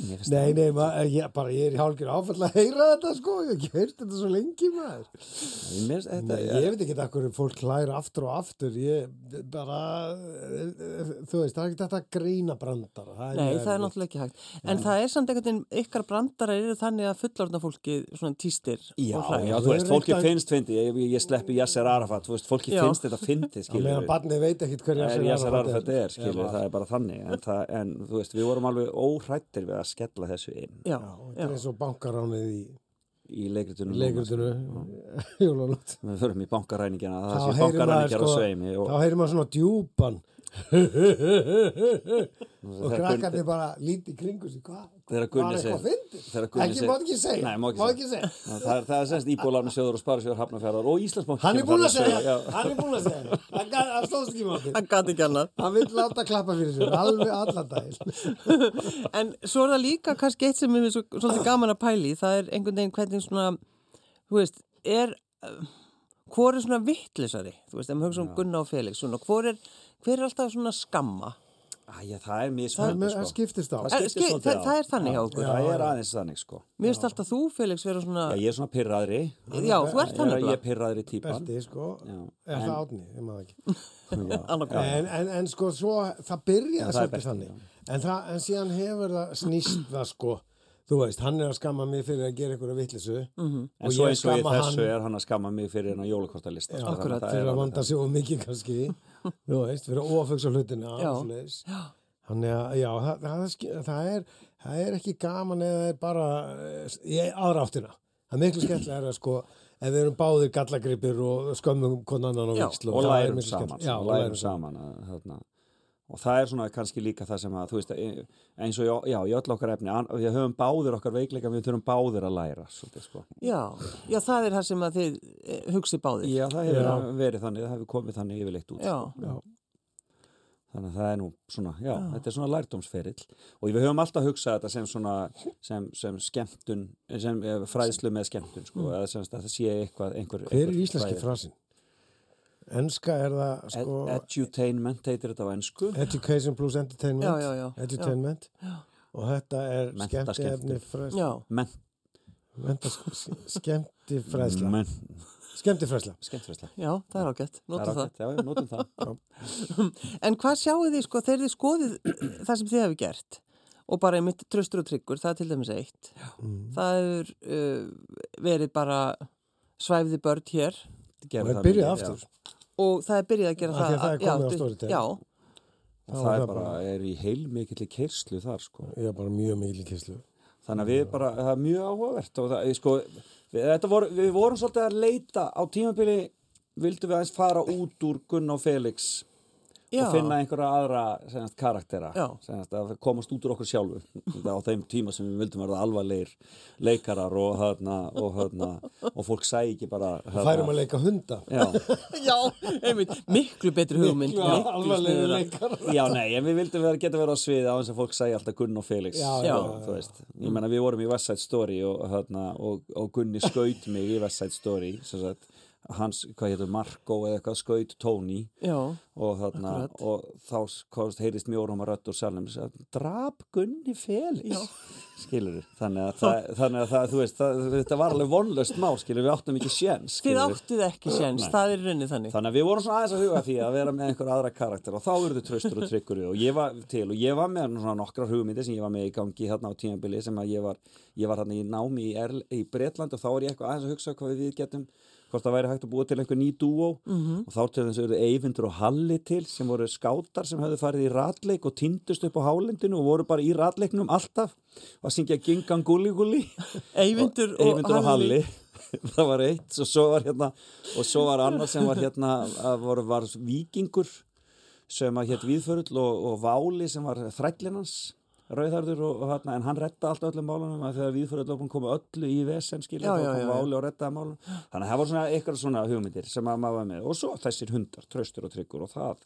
Speaker 3: mér finnst
Speaker 2: Nei, nei, ma- ég, bara ég er í hálfgjör áfall að heyra þetta sko, ég hef ekki heyrt þetta svo lengi maður.
Speaker 3: það- mér finnst þetta,
Speaker 2: Nei, ég veit ekki hvað fólk hlæra aftur og aftur, ég bara, eh, þú veist, það er ekki þetta að grína brandara.
Speaker 1: Nei,
Speaker 2: mjög
Speaker 1: það er
Speaker 2: erfitt.
Speaker 1: náttúrulega ekki hægt. En það er samt einhvern veginn, ykkar brandara eru þannig að fullorðna fólkið svona týstir
Speaker 3: Já,
Speaker 1: og hlægir.
Speaker 3: já, þú veist,
Speaker 2: Við erum
Speaker 3: fólki
Speaker 2: reyndar-
Speaker 3: finnst fyndi, ég, ég sleppi Yasser Arafat, þú veist, fólki
Speaker 1: Já.
Speaker 3: finnst þetta fyndi,
Speaker 2: Á meðan
Speaker 3: skilur við.
Speaker 2: barnið veit ekkit hverja
Speaker 3: En Yasser Arafat er, skilur við, það er bara þannig, en, það, en þú veist, við vorum alveg óhrættir við að skella þessu inn
Speaker 1: Já,
Speaker 2: Þetta
Speaker 1: já,
Speaker 2: er eins og bankaránið í
Speaker 3: í leikritunum.
Speaker 2: leikundinu, jólanótt.
Speaker 3: Við förum í bankaræningina, það
Speaker 2: þá
Speaker 3: sé
Speaker 2: heyrir maður
Speaker 3: bankaræningjar
Speaker 2: sko,
Speaker 3: á sveimi og
Speaker 2: þá heyrir maður svona djúpan og
Speaker 3: þegar
Speaker 2: krakkarnir bara líti í kringu sig hvað,
Speaker 3: Þegar
Speaker 2: var
Speaker 3: Gunni
Speaker 2: eitthvað
Speaker 3: segir-
Speaker 2: fyndið?
Speaker 3: þegar Gunni
Speaker 2: ekki,
Speaker 3: segir-
Speaker 2: má ekki segja
Speaker 3: Nei, má ekki segja.
Speaker 2: segja
Speaker 3: Ná, það er, það er semst íbúlarni sjóður og sparisjóður hafnafjörðar og Íslandsbanki.
Speaker 2: hann er búin að
Speaker 3: Já,
Speaker 2: segja, hann er búin að segja hann gat- hann stóðst ekki mátti
Speaker 1: það gæti ekki annað.
Speaker 2: hann vill láta klappa fyrir sér alveg allan daginn
Speaker 1: En svo er það líka kannski eitt sem er svo, svolítið gaman að pæli, það er einhvern veginn hvernig svona, þú veist, er, eh, hvor er svona vittlisari, þú veist, ef maður hugsa um Gunna og Felix, svona, hvor er, hver er alltaf svona að skamma?
Speaker 3: Æja, það er
Speaker 2: það er
Speaker 3: mismöndi,
Speaker 2: með-
Speaker 3: sko.
Speaker 2: það skiptist á
Speaker 3: Það
Speaker 1: Er,
Speaker 3: skiptir
Speaker 1: skil,
Speaker 3: svolítið
Speaker 1: Eh, það,
Speaker 3: á.
Speaker 1: það er þannig hjá okkur.
Speaker 3: Það er aðeins þannig, sko.
Speaker 1: Mér finnst alltaf þú, Felix, vera svona,
Speaker 3: Já, ég er svona pyrraðri.
Speaker 1: já, þú ert
Speaker 3: Ég
Speaker 1: þannig
Speaker 3: er, ég
Speaker 1: bara.
Speaker 3: er pyrraðri típan.
Speaker 2: besti sko,
Speaker 3: Já.
Speaker 2: er það átni ég maður ekki
Speaker 1: Annarkoð.
Speaker 2: en, en, en sko svo það byrjaði
Speaker 3: það er
Speaker 2: svolítið
Speaker 3: besti,
Speaker 2: þannig en, það, en síðan hefur það snýst það sko þú veist, hann er að skamma mig fyrir að gera einhverja vittlisu -hmm.
Speaker 3: En svo eins og ég þessu er hann að skamma mig fyrir hennar jólakortalista. sko,
Speaker 1: Akkurat,
Speaker 3: þannig að það
Speaker 2: fyrir
Speaker 3: er
Speaker 2: að
Speaker 3: alveg-
Speaker 2: vanda sig of mikið kannski þú veist, fyrir að ofugsa hlutina
Speaker 1: Já.
Speaker 2: hann er að, já, það, það, er ski- það er það er ekki gaman eða það er bara eh, í aðra áttina það er miklu skemmtilega er að sko ef við erum báðir gallagripir og skömmum hvern annan á
Speaker 1: Já.
Speaker 2: vikslu
Speaker 3: Og
Speaker 2: það er
Speaker 3: lærum
Speaker 2: miklu
Speaker 3: saman. sko,
Speaker 2: skemmtilegra. já,
Speaker 3: og lærum saman. að, Þarna. Og það er svona kannski líka það sem að, þú veist, e, eins og, já, já, í öll okkar efni, an- við höfum báðir okkar veikleika, við þurfum báðir að læra, svolítið, sko.
Speaker 1: Já, já, það er það sem að þið eh, hugsið báðir.
Speaker 3: Já, það hefur verið þannig, það hefur komið þannig yfirleitt út. sko.
Speaker 1: Já,
Speaker 3: Þannig að það er nú svona, já, þetta er svona lærdómsferill og við höfum alltaf hugsað þetta sem svona, sem, sem skemmtun, sem eh, fræðslu með skemmtun, sko, eða sem sagt að það sé eitthvað, einhver...
Speaker 2: Mm. hver er
Speaker 3: einhver
Speaker 2: íslenski
Speaker 3: fræði.
Speaker 2: frasin? enska er það sko Eh.
Speaker 3: Ed- Edutainment heitir þetta á ensku.
Speaker 2: education plus entertainment
Speaker 1: Já, já, já.
Speaker 2: edutainment og þetta er
Speaker 3: Menta-
Speaker 2: skemmtifræðsla
Speaker 3: skemmti.
Speaker 1: já,
Speaker 3: Men,
Speaker 2: skemmtifræðsla
Speaker 3: men,
Speaker 2: skemmtifræðsla
Speaker 3: skemmtfræðsla.
Speaker 1: já, það er ágætt, notu það.
Speaker 3: Já, já, notum það.
Speaker 1: En hvað sjáu þið sko, þegar þið skoðið það sem þið hefur gert og bara einmitt tröstur og tryggur, það er til dæmis eitt.
Speaker 2: Mm.
Speaker 1: Það hefur uh, verið bara svæfði börn hér
Speaker 3: Gerum
Speaker 2: og
Speaker 1: og
Speaker 2: það byrjaði aftur
Speaker 3: það mikið, já.
Speaker 1: það er byrjað að gera
Speaker 2: Af því að
Speaker 1: það.
Speaker 2: það er komið á
Speaker 1: já,
Speaker 2: Storytel.
Speaker 1: Já,
Speaker 3: Og
Speaker 2: var
Speaker 3: það
Speaker 2: það
Speaker 3: er bara, er í heilmikilli keirslu þar, sko.
Speaker 2: ég er bara mjög mikil í kynslu
Speaker 3: Þannig að við bara, það er mjög áhugavert og það, sko, við, þetta voru, við vorum svolítið að leita á tímabili vildum við aðeins fara út úr Gunn og Felix
Speaker 1: já,
Speaker 3: og finna einhverja aðra senast, karaktera
Speaker 1: Já.
Speaker 3: senast, að komast út úr okkur sjálfu á þeim tíma sem við vildum verða alvarleir leikarar og þarna og, þarna, og fólk sæi ekki bara
Speaker 2: og færum um að leika hunda
Speaker 3: Já,
Speaker 1: já, einmitt, miklu betri hugmynd. miklu
Speaker 2: alvarlegu
Speaker 1: sniðugra.
Speaker 2: leikar
Speaker 3: já, nei, en við vildum vera, geta verið á sviði á þess að fólk sæi alltaf Gunn og Felix
Speaker 2: Já,
Speaker 3: og,
Speaker 1: já,
Speaker 3: þú veist, ég menna við vorum í West Side Story og, þarna, og, og Gunni skaut mig í West Side Story sem sagt, hans, hvað hétu, Marco eða eitthvað skaut Tony
Speaker 1: Já,
Speaker 3: og, þarna, og þá komst, heyrist mjög orðum að rödd úr salnum sagði, drap Gunni Felix skilur þannig að, það, þannig að það, þú veist, það, þetta var alveg vonlöst mál skilur við áttum ekki sjens
Speaker 1: þið áttuð ekki séns, það er raunnið þannig.
Speaker 3: þannig að við vorum svona aðeins að huga að því að vera með einhver aðra karakter og þá urðu tröstur og tryggur og ég var til og ég var með svona nokkrar hugmyndir sem ég var með í gangi þarna á tímabili sem að ég var, ég var þarna í námi í, Erl, í Bretland og þá er ég eitthvað aðeins að hugsa hvað við getum hvort það væri hægt að búa til einhver ný dúó og þá til þess að verið Eyvindur og Halli til sem voru skátar sem höfðu farið í ratleik og týndust upp á hálendinu og voru bara í ratleiknum alltaf og að syngja Gingan Gulli Gulli
Speaker 1: Eyvindur og,
Speaker 3: Eyvindur og Halli það var eitt og svo var hérna og svo var annar sem var hérna að var, var vikingur sem að hétt Víðförull og, og Váli sem var þrællinn hans rauðarður og, og hérna en hann retta alltaf öllum málunum að þegar Víðförull opum koma öllu í vesen skilja
Speaker 1: Já,
Speaker 3: þá
Speaker 1: já, já,
Speaker 3: kom
Speaker 1: já.
Speaker 3: Váli og rettaði málunum þannig að það var svona eitthvað svona hugmyndir sem að maður var með og svo þessir hundar, tröstur og tryggur og það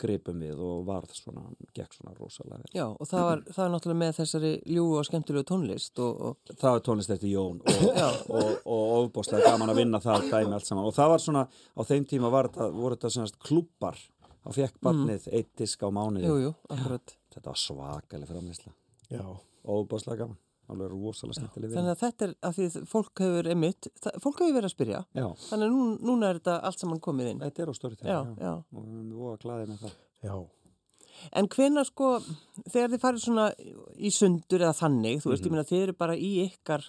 Speaker 3: gripum við og varð svona gekk svona rosalega vel
Speaker 1: Já, og það var, það var náttúrulega með þessari ljúu og skemmtilegu tónlist og, og
Speaker 3: það var tónlist eftir Jón og, og, og ofbóstlega gaman að vinna það dæmi allt saman og það var svona, á þeim tíma var þetta, voru þetta svona klubbar þá fekk barnið eitt disk á mánuði
Speaker 1: Mm. jú, jú, akkurat.
Speaker 3: þetta var svakalega framleysla
Speaker 2: Já.
Speaker 3: ofbóstlega gaman, alveg rosalega snettileg
Speaker 1: Þannig
Speaker 3: vinna
Speaker 1: að þetta er að því að fólk hefur emitt, það, fólk hefur verið að spyrja.
Speaker 3: já,
Speaker 1: Þannig að nú, núna er þetta allt saman komið inn.
Speaker 3: þetta er á stóri
Speaker 1: Já,
Speaker 3: tíma já.
Speaker 1: já.
Speaker 3: og við erum voða glæðið með það
Speaker 2: Já.
Speaker 1: En hvena sko, þegar þið farið svona í sundur eða þannig, þú veist,
Speaker 3: Mhm.
Speaker 1: ég meina þið eru bara í ykkar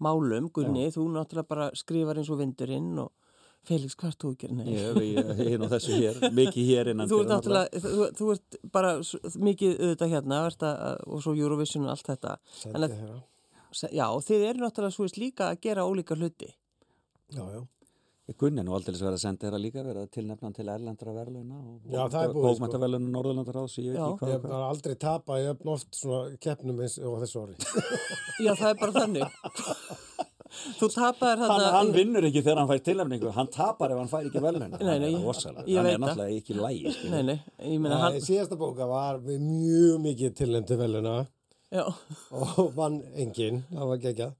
Speaker 1: málum, Gunni, þú náttúrulega bara skrifar eins og vindurinn og Felix, hvað ert þú að gera? Nei.
Speaker 3: ég hef í- hinn og þessu hér, mikið hér innan
Speaker 1: Þú ert
Speaker 3: dyra náttúrulega.
Speaker 1: náttúrulega, þú, þú ert bara s- mikið auðvitað hérna ert að, og svo Eurovision og allt þetta. En að,
Speaker 2: Sendi þeirra.
Speaker 1: se- já, þið eru náttúrulega svo veist líka að gera ólíka hluti.
Speaker 2: Já, já.
Speaker 3: Ég Gunni er nú aldrei verið að senda þér að líka verið að tilnefna hann til erlendra verðlauna
Speaker 2: Já, það er
Speaker 3: og
Speaker 2: búið, sko.
Speaker 3: bókmæntaverðlauna Norðurlandaráðs ég veit
Speaker 1: Já.
Speaker 3: ekki
Speaker 2: Ég
Speaker 3: hvað, og
Speaker 2: hef
Speaker 3: hvað.
Speaker 2: bara aldrei tapað, ég hef oft svona keppnum eins og þessu orði.
Speaker 1: Já, það er bara þannig. þú tapaðir
Speaker 3: hann,
Speaker 1: þarna...
Speaker 3: hann vinnur ekki þegar hann fær tilnefningu hann tapar ef hann fær ekki velun
Speaker 1: Nei, nei, ég- ég
Speaker 3: hann
Speaker 1: veit
Speaker 3: er
Speaker 1: það.
Speaker 3: náttúrulega ekki lægi
Speaker 1: Nei, nei, ég meina
Speaker 2: Hann...
Speaker 1: hann...
Speaker 2: Síðasta bóka var við mjög mikið tilnefndi veluna
Speaker 1: Já,
Speaker 2: og vann enginn, það var geggjað.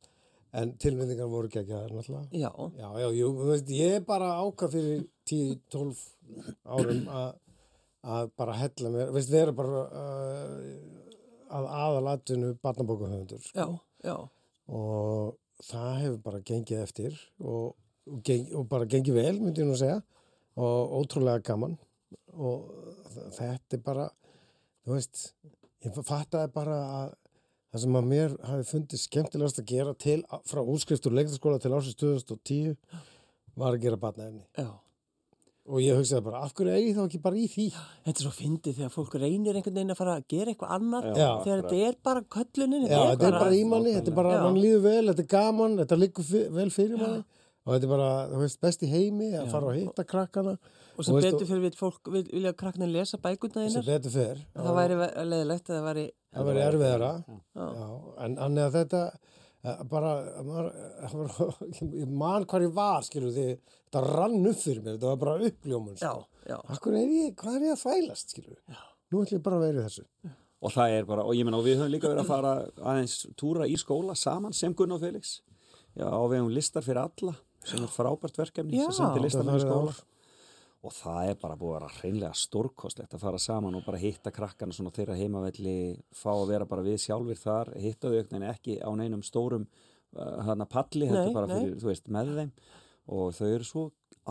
Speaker 2: En tilmyndingar voru geggjaðar náttúrulega.
Speaker 1: já.
Speaker 2: Já, já, jú, þú veist, ég er bara ákvað fyrir 10-12 árum að að bara hella mér, veist, vera bara uh, að aðalatinu barnabókahöfundur
Speaker 1: Já, já,
Speaker 2: og það hefur bara gengið eftir og, og, geng, og bara gengið vel myndi ég nú segja og ótrúlega gaman og þ- þetta er bara þú veist, ég fattaði bara að það sem að mér hafi fundið skemmtilegast að gera til frá útskrift úr leiktaskóla til ásins 2010 var að gera batnaefni
Speaker 1: já.
Speaker 2: og ég hugsaði bara, af hverju er ég þá ekki bara í því
Speaker 1: Þetta er svo fyndið þegar fólk reynir einhvern veginn að fara að gera eitthvað annar
Speaker 2: Já.
Speaker 1: þegar þetta er bara köllunin,
Speaker 2: Já, þetta er bara í manni, þetta er bara,
Speaker 1: Já.
Speaker 2: mann líður vel, þetta er gaman, þetta liggur fyr, vel fyrir manni og þetta er bara, þú veist, best í heimi að fara og hitta krakkana
Speaker 1: Og sem
Speaker 2: veist,
Speaker 1: betur fyrir við fólk vil- vilja kraknin lesa bækuna
Speaker 2: sem
Speaker 1: þínar.
Speaker 2: betur fer,
Speaker 1: Það væri ve- leiðilegt að það væri...
Speaker 2: það verður erfiðara, já, en annað að þetta, eh, bara, maður, það var- ég man hvar ég var, skilur því, þetta rann upp fyrir mér, þetta var bara uppljómun,
Speaker 1: Já,
Speaker 2: sko.
Speaker 1: já.
Speaker 2: Akkur er ég, hvað er ég að þvælast, skilur við? Nú ætlum ég bara að vera í þessu.
Speaker 3: og það er bara, og ég menna, og við höfum líka verið að fara aðeins túra í skóla saman sem Gunn og Felix já, og við höfum listar fyrir alla sem er frábært verkefni
Speaker 1: Já.
Speaker 3: sem sendir listamenn í
Speaker 2: Það er
Speaker 3: skóla og það er bara búið að vera hreinlega stórkostlegt að fara saman og bara hitta krakkana svona á þeirra heimavelli, fá að vera bara við sjálfur þar, hitta þau en ekki á neinum stórum uh, hana palli, heldur
Speaker 1: Nei,
Speaker 3: bara
Speaker 1: nei.
Speaker 3: fyrir, þú veist, með þeim og þau eru svo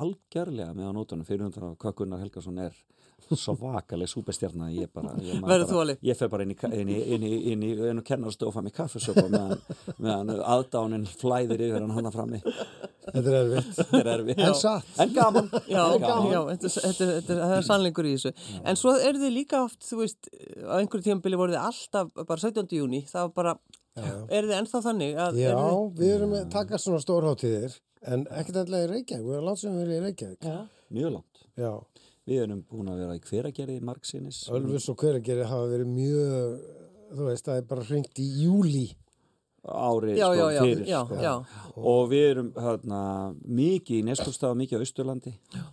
Speaker 3: algjörlega með á nótunum fyrir hundan að Kökkunnar Helgason er svo vakaleg súpestjarna ég bara, ég, man
Speaker 1: Verður
Speaker 3: bara-
Speaker 1: þú alveg?
Speaker 3: ég fer bara inn í, ka- inn í, inn í, inn í, inn í kennarstofa með kaffesopa meðan, meðan aðdánin flæðir yfir hann hann frammi
Speaker 2: Þetta er erfitt.
Speaker 3: þetta er erfið
Speaker 2: En satt.
Speaker 3: en gaman,
Speaker 1: Já,
Speaker 3: en gaman.
Speaker 1: já, þetta, er- þetta, er- þetta er- það er sannleikur í þessu. En svo eru þið líka oft, þú veist, á einhverju tímabili voru þið alltaf, bara 17. júni, það var bara, eru þið ennþá þannig að...
Speaker 2: Já,
Speaker 1: eru þið-
Speaker 2: við erum að taka svona stórháttíðir, en ekkert endlega í Reykjavík, við erum langt sem við erum í Reykjavík. Já.
Speaker 3: mjög langt
Speaker 2: Já,
Speaker 3: við erum búin að vera í hveragerði margsinnis
Speaker 2: Ölfus og Hveragerði hafa verið mjög, þú veist, það er bara hringt í júli.
Speaker 3: ári
Speaker 1: Já,
Speaker 3: sko,
Speaker 1: já, já,
Speaker 3: fyrir
Speaker 1: já,
Speaker 3: sko.
Speaker 1: já.
Speaker 3: og við erum hérna, mikið í Neskústafa, mikið á Austurlandi já.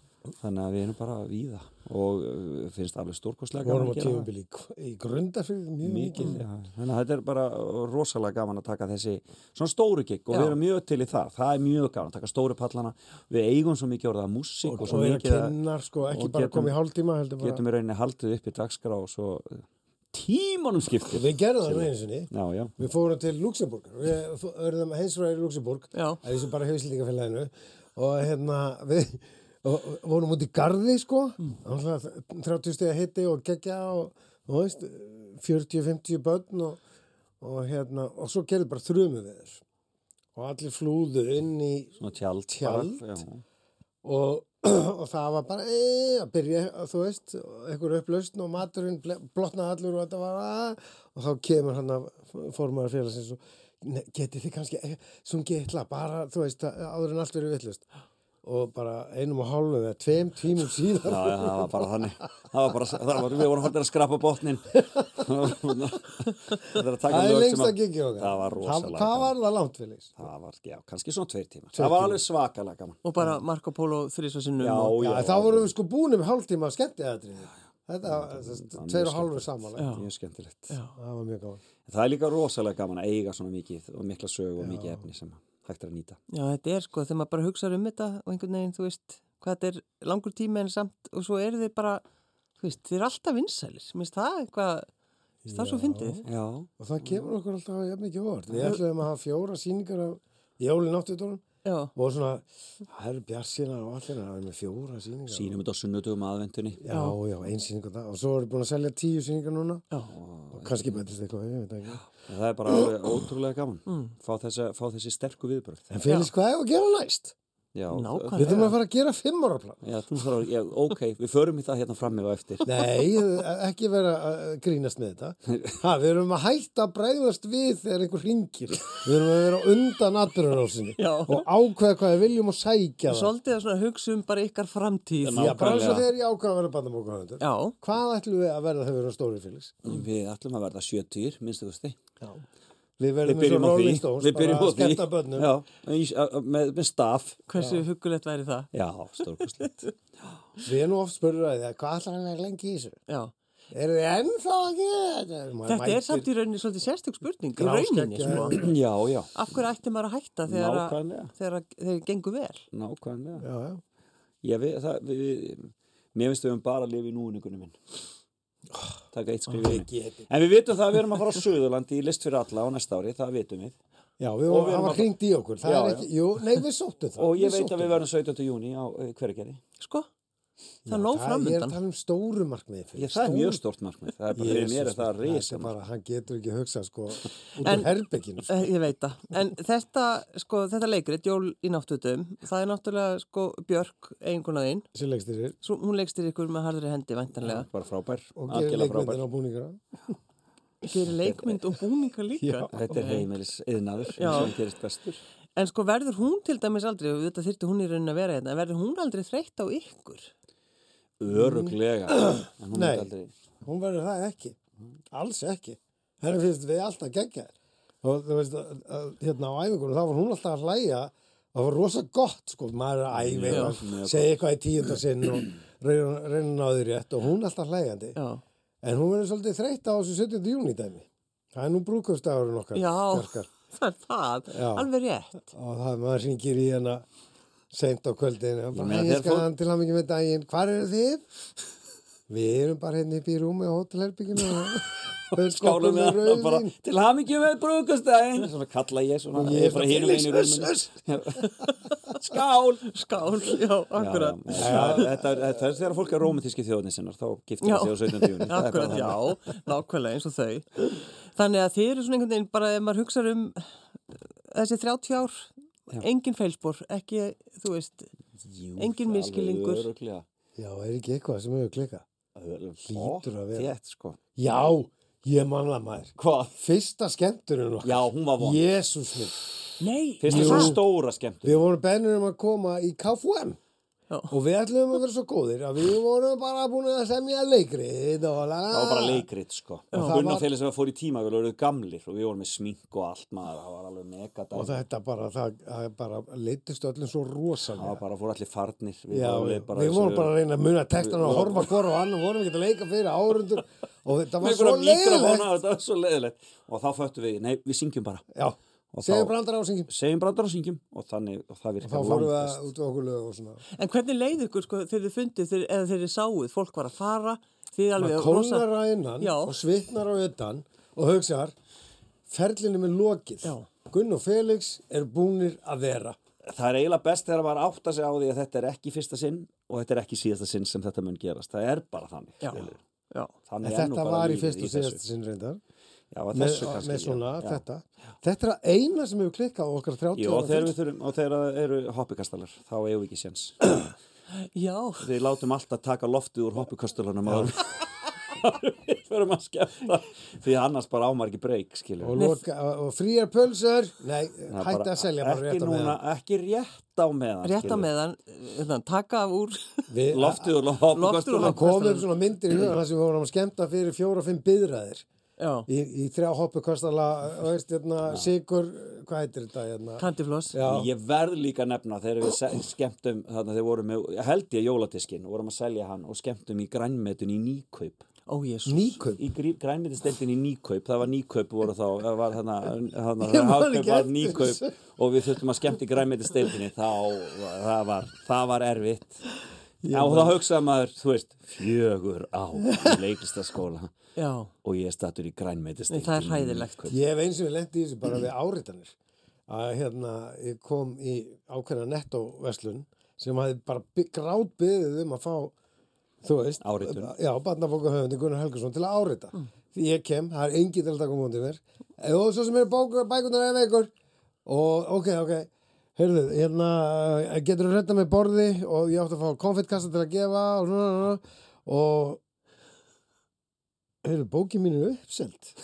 Speaker 3: þannig að við erum bara víða og uh, finnst alveg stórkostlega
Speaker 2: Við
Speaker 3: gaman
Speaker 2: vorum á
Speaker 3: að gera það.
Speaker 2: tífumbili í, í grundafrið mjög mikið.
Speaker 3: mikið, já. þannig að þetta er bara rosalega gaman að taka þessi svona stóru gig og
Speaker 1: Já.
Speaker 3: við erum mjög til í það, það er mjög gaman að taka stóru pallana, við eigum svo mikið orðað músík
Speaker 2: Og,
Speaker 3: og,
Speaker 2: og
Speaker 3: svo
Speaker 2: það er
Speaker 3: mikið að
Speaker 2: kynnar, sko, ekki
Speaker 3: og
Speaker 2: bara
Speaker 3: getum-
Speaker 2: komið í hálftíma, heldur bara.
Speaker 3: getum við rauninni haldið upp í dagskrá og svo uh, tímanum skiptir
Speaker 2: Við gerðum það nú einu sinni.
Speaker 3: já, já,
Speaker 2: Við fórum til Luxemburg, við fó- urðum heimsfræðir í Luxemburg,
Speaker 1: Já.
Speaker 2: að því sem bara hefur slítingafélaginu og hérna við og, og, vorum út í garði sko, mm. 30 stegi hitti og geggja og þú veist, 40-50 börn og, og hérna og svo gerði bara þrjumum við þér og allir flúðu inn í
Speaker 3: svona tjald,
Speaker 2: Tjald?
Speaker 3: bara, já.
Speaker 2: og, og það var bara e, að byrja, þú veist, einhver upplausn og maturinn ble- blotnaði allur og þetta var að, og þá kemur hann að formaður félagsins og "Nei, getið þið kannski, eh, sungið eitthvað bara, þú veist, að- áður en allt verið villust og bara einum og hálfum eða tveim tímum síðan
Speaker 3: Já, já, það var bara þannig það var bara, það var, við vorum haldið að skrapa botnin það er að taka
Speaker 2: það er
Speaker 3: lög
Speaker 2: lengst
Speaker 3: sem
Speaker 2: að giggi okkar
Speaker 3: það var rosalega
Speaker 2: hvað
Speaker 3: gaman.
Speaker 2: var það langt Félix?
Speaker 3: það var, já, kannski svona tveir tíma það var alveg svakalega gaman
Speaker 1: og bara Marco Polo þrísa sinnum
Speaker 3: já,
Speaker 1: og,
Speaker 2: Já,
Speaker 3: já,
Speaker 2: þá vorum við sko búinum hálftíma að skemmti aðrið þetta var sem sagt,
Speaker 3: var
Speaker 2: tveir og
Speaker 3: mjög
Speaker 2: hálfur samanlega
Speaker 3: mjög skemmtilegt
Speaker 2: það var mjög gaman
Speaker 3: það er líka rosalega gaman að eiga svona mikið og mikla sög og mikið efni sem hægt er að nýta
Speaker 1: já, þetta er sko, þegar maður bara hugsaður um þetta og einhvern veginn, þú veist, hvað þetta er langur tími en samt, og svo eru þið bara þú veist, þið eru alltaf vinsælir minnst það eitthvað, mér finnst það svo fyndið
Speaker 3: já,
Speaker 2: og það kemur okkur alltaf jafn mikið vort við ætlum að hafa fjóra síningar af jólin áttutunum
Speaker 1: já,
Speaker 2: og svona það eru bjarsina og allir það er með fjóra síningar
Speaker 3: sínum þetta á sunnudugum aðvendunni
Speaker 2: já, já, ein síningar það og svo erum við búin að selja tíu síningar núna
Speaker 1: Já.
Speaker 2: og kannski bætist eitthvað, ég veit ekki
Speaker 3: það er bara alveg ótrúlega gaman fá, þessi, fá þessi sterku viðbröð
Speaker 2: en Félix, hvað er að gera næst?
Speaker 3: já,
Speaker 1: Nákvæmlega.
Speaker 2: við þurfum að fara að gera fimm ára plan
Speaker 3: já, þú þarf að, já, ok, við förum í það hérna frammi og eftir
Speaker 2: Nei, ekki vera að grínast með þetta. Ha, við erum að hætta að bregðast við þegar einhver ringir. Við erum að vera undan atbyrjarásinni
Speaker 1: Já.
Speaker 2: og ákveða hvað við viljum og sækja það.
Speaker 1: svolítið að svona hugsa um bara ykkar framtíð
Speaker 3: Ná-
Speaker 2: Já, bara eins og
Speaker 3: nákvæmlega.
Speaker 2: þegar ég ákveða að vera bandamókahöndur.
Speaker 1: já,
Speaker 2: Hvað ætlum við að verða þegar við erum stóri, Félix?
Speaker 3: Við ætlum að verða 70, minnstu kosti.
Speaker 2: Við
Speaker 3: Við
Speaker 2: verðum eins og
Speaker 3: byrjum á því.
Speaker 2: Rolling Stones,
Speaker 3: Við byrjum á
Speaker 2: bara að
Speaker 3: því.
Speaker 2: skemmta börnum.
Speaker 3: Já, í- að- með, með staff.
Speaker 1: hversu huggulegt væri það
Speaker 3: Já, stórkostlegt.
Speaker 2: Við erum nú oft spurður að því að hvað ætlar hann að lengi í þessu?
Speaker 1: já,
Speaker 2: Er þið ennþá ekki þetta? Maður
Speaker 1: þetta
Speaker 2: mætir-
Speaker 1: er samt í rauninni svolítið sérstök spurning í
Speaker 2: Gráskeggja.
Speaker 1: rauninni, sko
Speaker 3: já, já,
Speaker 1: af hverju ætti maður að hætta þegar, að,
Speaker 3: Nákvæmlega.
Speaker 1: þegar, að, þegar gengur vel
Speaker 3: nákvæmlega.
Speaker 2: Já, já.
Speaker 3: Já, við, það, við, við, mér finnst við um bara að lifa í núningunum minn. Takk eitt skrifið minn. En við vitum það að við erum að fara á Suðurlandi í list fyrir alla á næsta ári, það vitum við.
Speaker 2: Já, við vorum
Speaker 3: erum
Speaker 2: að
Speaker 3: að-
Speaker 2: hringt í okkur. Það
Speaker 3: Já,
Speaker 2: er
Speaker 3: já.
Speaker 2: ekki, jú, nei, við sóttum það.
Speaker 3: Og ég
Speaker 2: Við
Speaker 3: veit
Speaker 2: sóttum
Speaker 3: að við verðum 17. júni á eh, hverjargerði.
Speaker 1: sko, það er nóg
Speaker 2: Ég er að
Speaker 1: framöndan
Speaker 2: tala um stóru markmiði
Speaker 3: Já,
Speaker 2: fyrir.
Speaker 3: það er mjög stórt markmið. Það er bara, fyrir mér er það
Speaker 2: Þetta
Speaker 3: reysa
Speaker 2: er bara, hann getur ekki hugsað sko út sko,
Speaker 1: En-
Speaker 2: af herbygginu.
Speaker 1: Eh, Ég veit það, en þetta, sko, þetta leikrit, Jól í náttútum, það er náttúrulega, sko, Björk, eiginkonaðinn,
Speaker 2: sem leikstyrir
Speaker 1: svo hún leikstir ykkur með harðri hendi, væntanlega.
Speaker 3: Bara frábær,
Speaker 2: og gerir
Speaker 3: algjörlega frábær.
Speaker 2: leikmyndir á búningara.
Speaker 1: Gerir leikmynd og búninga líka.
Speaker 3: Þetta er heimilis yðnaður
Speaker 1: Já.
Speaker 3: sem gerist bestur.
Speaker 1: En sko, verður hún til dæmis aldrei, og þetta þyrfti hún í raunin að vera hérna, en verður hún aldrei þreytt á ykkur?
Speaker 3: Öruglega. En hún
Speaker 2: Mm. Nei.
Speaker 3: myndi aldrei-
Speaker 2: Hún verður það ekki. Alls ekki. Henni finnst við alltaf geggja þér. Og þú veist, að, að, hérna á æfingunum, þá var hún alltaf að hlæja og það var rosa gott sko, maður er að æfi eitthvað, segja eitthvað í tíunda sinn og reyna reyna að ná því rétt og hún er alltaf hlæjandi.
Speaker 1: Já,
Speaker 2: En hún verður svolítið þreytt á þessu 17. júni dæmi. Það er nú brúkustagurinn okkar.
Speaker 1: já,
Speaker 2: Bjarkar.
Speaker 1: það er það,
Speaker 2: Já.
Speaker 1: alveg rétt.
Speaker 2: og það maður hringir í hana seint á kvöldin og bara,
Speaker 3: meina,
Speaker 2: ég
Speaker 3: þegar
Speaker 2: skal
Speaker 3: fólk-
Speaker 2: hann til hann ekki með daginn hvar eru þið? við erum bara hérna upp í rúmi á hótelherbygginu og við
Speaker 3: Skálum
Speaker 2: skálum
Speaker 3: við
Speaker 2: með
Speaker 3: hann bara
Speaker 2: rauðin
Speaker 3: til hamingjum með brúkustæðin. Svona kalla ég svona.
Speaker 2: Og ég er
Speaker 3: Ég er bara
Speaker 2: bara,
Speaker 3: hinum einu
Speaker 2: "Felix,
Speaker 3: rúminu.
Speaker 2: uss,
Speaker 3: Skál!
Speaker 1: Skál, já,
Speaker 3: Já,
Speaker 1: akkurat.
Speaker 3: já, það- Þetta er- þetta er þegar fólk er rómantíski þjóðni sinnar, þá giftir
Speaker 1: Já.
Speaker 3: það sig á 17. júni. Það er bara
Speaker 1: Akkurat,
Speaker 3: þannig.
Speaker 1: já, nákvæmlega eins og þau. Þannig að þið eru svona einhvern veginn bara ef maður hugsa um þessi 30 ár, engin feilspor, ekki, þú veist,
Speaker 3: Jú,
Speaker 1: Engin
Speaker 3: það er
Speaker 1: misskilningur.
Speaker 3: alveg Öruglega.
Speaker 2: já, er ekki eitthvað sem hefur klikað Hlýtur
Speaker 3: Hlýtur
Speaker 2: að vera.
Speaker 3: Þétt, sko.
Speaker 2: já, ég manna maður
Speaker 3: Hvað?
Speaker 2: fyrsta skemmturinn okkar
Speaker 3: Já, hún var von.
Speaker 2: Jésús minn
Speaker 1: nei,
Speaker 3: Fyrst er
Speaker 2: Jú.
Speaker 3: svo stóra skemmtur.
Speaker 2: Við vorum bennir um að koma í KFUM
Speaker 1: Já.
Speaker 2: og við ætlum að vera svo góðir að við vorum bara búin að semja leikrið og la la la.
Speaker 3: Það var bara leikrit sko
Speaker 2: Ah. það
Speaker 3: Gunn
Speaker 2: var-
Speaker 3: og Félix sem fór í tíma við vorum gamlir og við vorum með smink og allt maður það var alveg megadæmi
Speaker 2: og þetta bara, það, það bara leittist öllum svo
Speaker 3: það var
Speaker 2: rosalega
Speaker 3: bara fór allir farnir við
Speaker 2: Já,
Speaker 3: vorum
Speaker 2: við,
Speaker 3: bara,
Speaker 2: vorum bara að reyna að muna textan og
Speaker 3: Við-
Speaker 2: horfa hvora og annan, vorum ekki að leika fyrir árundur og þetta var
Speaker 3: Við
Speaker 2: svo
Speaker 3: vorum mikrofóna,
Speaker 2: leiðilegt
Speaker 3: þetta var svo leiðilegt og þá föttu við, nei við syngjum bara
Speaker 2: Já,
Speaker 3: Og
Speaker 2: segjum
Speaker 3: þá-
Speaker 2: brandar ásingin
Speaker 3: segjum brandar og syngjum og þannig og það
Speaker 2: og þá
Speaker 3: virkar
Speaker 2: fórum við
Speaker 3: langmest.
Speaker 2: að út á okkur lög og svona
Speaker 1: en hvernig leið ykkur sko þegar þið fundið þeir, eða þegar þið sáuð, fólk var að fara, þið alveg
Speaker 2: maður
Speaker 1: rosa-
Speaker 2: kólnar að innan
Speaker 1: Já.
Speaker 2: og svitnar á utan og hugsaðar ferlinu með lokið
Speaker 1: Já.
Speaker 2: Gunn og Felix er búnir að vera
Speaker 3: það er eiginlega best þegar maður átta sig á því að þetta er ekki fyrsta sinn og þetta er ekki síðasta sinn sem þetta mun gerast það er bara þannig
Speaker 1: Já,
Speaker 3: skilurðu.
Speaker 1: já,
Speaker 3: þannig
Speaker 2: en
Speaker 3: er nú
Speaker 2: þetta
Speaker 3: bara
Speaker 2: var í
Speaker 3: lífið
Speaker 2: fyrst og
Speaker 3: þessu.
Speaker 2: síðast sinn reyndar
Speaker 3: Já, að
Speaker 2: með,
Speaker 3: þessu kannski,
Speaker 2: með svona
Speaker 3: já, já.
Speaker 2: þetta þetta er að eina sem hefur klikkað á okkar 30
Speaker 3: Jú, og
Speaker 2: ára
Speaker 3: þegar
Speaker 2: fund.
Speaker 3: við þurfum, og þegar það eru hoppikastalar, þá eigum við ekki séns.
Speaker 1: Já,
Speaker 3: Við látum alltaf taka loftið úr hoppikastalunum að við förum að skemmta, því að annars bara ámar ekki breyk, skiljum.
Speaker 2: og, loka, og fríar pölsur nei, hætti að selja bara
Speaker 3: ekki
Speaker 2: rétt á
Speaker 3: núna,
Speaker 2: meðan
Speaker 3: Ekki rétt á meðan.
Speaker 1: rétt á
Speaker 3: skilurðu.
Speaker 1: meðan, hérna, taka af úr,
Speaker 2: við
Speaker 3: Loftið úr
Speaker 1: Loftið úr
Speaker 3: hoppikastalunum.
Speaker 2: það komum svona myndir í hugan þar sem við vorum að skemmta fyrir fjóra og fimm byðræðir
Speaker 1: já,
Speaker 2: í, í þrjá hoppu kostala veist, hérna, sigur, hvað heitir þetta hérna?
Speaker 1: kandifloss.
Speaker 2: já,
Speaker 3: Ég verð líka að nefna þegar við se- skemmtum, þannig að þeir voru með, held ég jóladiskin, og vorum að selja hann og skemmtum í grænmetun í nýkaup.
Speaker 1: Ó, jésus.
Speaker 2: nýkaup
Speaker 3: í grænmyndisteltin í nýkaup það var nýkaup voru þá það var þarna, þarna,
Speaker 2: Ég man
Speaker 3: hagkaup
Speaker 2: ekki
Speaker 3: var
Speaker 2: eftir
Speaker 3: nýkaup
Speaker 2: þessu.
Speaker 3: og við þurftum að skemmta í grænmyndisteltinni þá var- það var, það var erfitt Já, og þá hugsaði maður, þú veist, fjögur á leiklistaskóla
Speaker 1: Já,
Speaker 3: og ég er statur í grænmyndisteltinni
Speaker 1: það er hræðilegt.
Speaker 2: Ég hef eins og við lendi í þessu bara við áritanir að hérna ég kom í ákveðna nettóverslun sem hafði bara grátt byggðið um að fá þú veist,
Speaker 3: Áritun.
Speaker 2: já, barnabóka höfundi Gunnar Helgason til að árita því ég kem, það er engin til að taka mútið mér og svo sem eru bókur, bækunar eða veikur og ok, ok heyrðu, hérna, getur þú redda með borði og ég átti að fá konfettkassa til að gefa og svona, svona og heyrðu, bókin mín er uppselt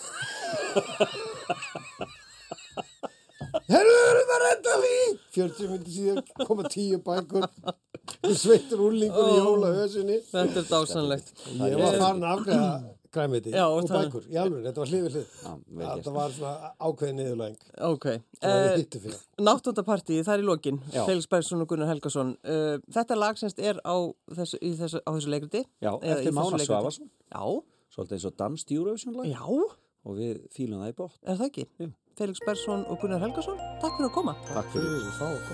Speaker 2: Herðu, erum við að redda því? 40 minnir síðan koma 10 bækur og sveittur úrlingur í jóla hösinni.
Speaker 1: Þetta er dásanlegt.
Speaker 2: Ég var farin að afgræða græmiði
Speaker 1: Já,
Speaker 2: og
Speaker 1: og það-
Speaker 2: bækur. Í alveg, þetta var hlið við hlið.
Speaker 3: vel gert.
Speaker 2: Þetta var svona ákveðin niðurlæng.
Speaker 1: Ok.
Speaker 2: Það var
Speaker 1: Eh,
Speaker 2: við hittu fyrir.
Speaker 1: Náttúndapartíð, það er í lokin
Speaker 3: Já.
Speaker 1: Felix Bergson og Gunnar Helgason uh, Þetta lag semst er á þessu, í þessu, á þessu leikriti
Speaker 3: Já,
Speaker 1: Eða í
Speaker 3: eftir
Speaker 1: þessu
Speaker 3: Mána
Speaker 1: leikriti.
Speaker 3: Svavarsson.
Speaker 1: Já,
Speaker 3: svolítið eins og danst Eurovision-lag
Speaker 1: já,
Speaker 3: og við fílum það í bótt
Speaker 1: er það ekki?
Speaker 3: Jú.
Speaker 1: Felix Bergson og Gunnar Helgason Takk fyrir að koma
Speaker 3: Takk fyrir
Speaker 2: Við erum fá að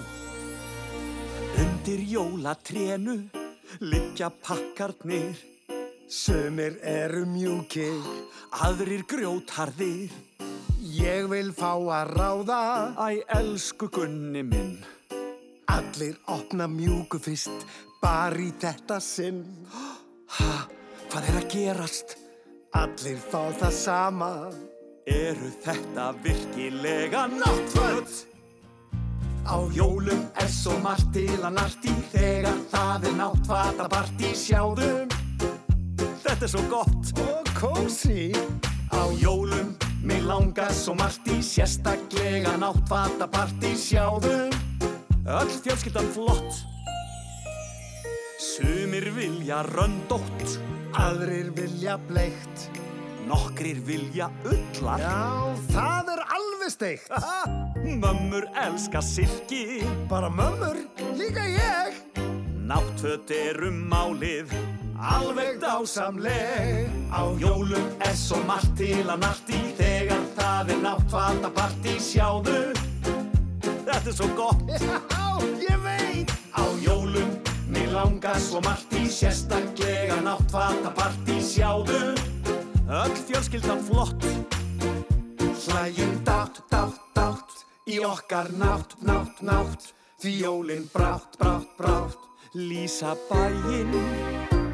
Speaker 2: koma.
Speaker 4: Undir jólatrénu liggja pakkarnir
Speaker 5: Sumir eru mjúkir
Speaker 4: Aðrir grjótharðir
Speaker 5: Ég vil fá að ráða
Speaker 4: Æ, elsku Gunni minn
Speaker 5: Allir opna mjúku fyrst Bara í þetta sinn
Speaker 4: Ha, hvað er að gerast?
Speaker 5: Allir fá það sama
Speaker 4: Eru þetta virkilega náttföt?
Speaker 5: Á
Speaker 4: Jólum er svo margt til að narti Þegar það er náttfata partí Sjáðum, þetta er svo gott
Speaker 5: og kósi
Speaker 4: Á jólum, mig langar svo margt í Sérstaklega náttfata partí Sjáðum, öll fjölskyldan flott Sumir vilja röndótt
Speaker 5: Aðrir vilja bleikt
Speaker 4: Nokkrir vilja ullar
Speaker 5: Já, það er alveg steikt
Speaker 4: Ha, Mömmur elska silki
Speaker 5: Bara mömmur, líka ég
Speaker 4: Náttföt eru málið Alveg dásamleg Á jólum er svo margt til að narti Þegar það er náttfata partí Sjáðu, þetta er svo gott
Speaker 5: Já, ég veit
Speaker 4: á jólum Mér langar svo margt í sérstaklega náttfata partí sjáðu Öll fjölskyldan flott
Speaker 5: Hlæjum dátt, dátt, dátt Í okkar nátt, nátt, nátt Því jólinn brátt, brátt, brátt
Speaker 4: Lýsa bæinn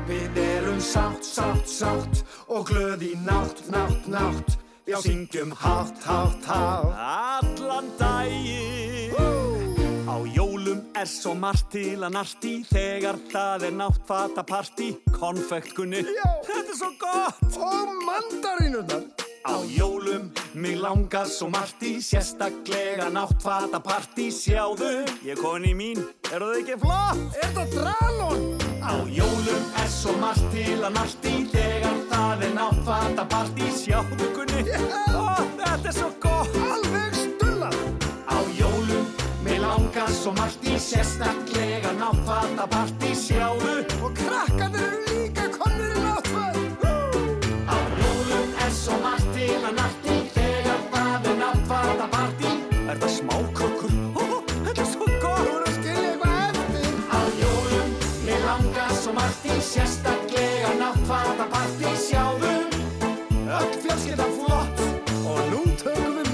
Speaker 5: Við erum sátt, sátt, sátt Og glöð í nátt, nátt, nátt Já, syngjum hátt, hátt, hátt
Speaker 4: allan daginn Á jólum er svo margt til að narti Þegar það er náttfata partí Konfektkunni Þetta er svo gott
Speaker 5: Og mandarínunar
Speaker 4: Á jólum, mig langar svo margt í sérstaklega náttfata partí Sjáðu, ég er komin í mín, eru þau ekki flott?
Speaker 5: Er það dralon?
Speaker 4: Á jólum er svo margt til að narti Þegar það er náttfata partí Sjáðu kunni, Ó, þetta er svo gott
Speaker 5: Alveg stullar
Speaker 4: Á jólum, mig langar svo margt í sérstaklega náttfata partí Sjáðu,
Speaker 5: Og krakkanir eru líka komnir í náttfæð
Speaker 4: á jólum er svo margt til að narti Þegar það er náttfata partí Er það smákökur? Ó, þetta er svo gott
Speaker 5: Þú eru að skilja eitthvað eftir
Speaker 4: á jólum Mér langar svo margt í sérstaklega náttfata partí sjáðum Öll fjölskyldan flott
Speaker 5: Og nú tökum við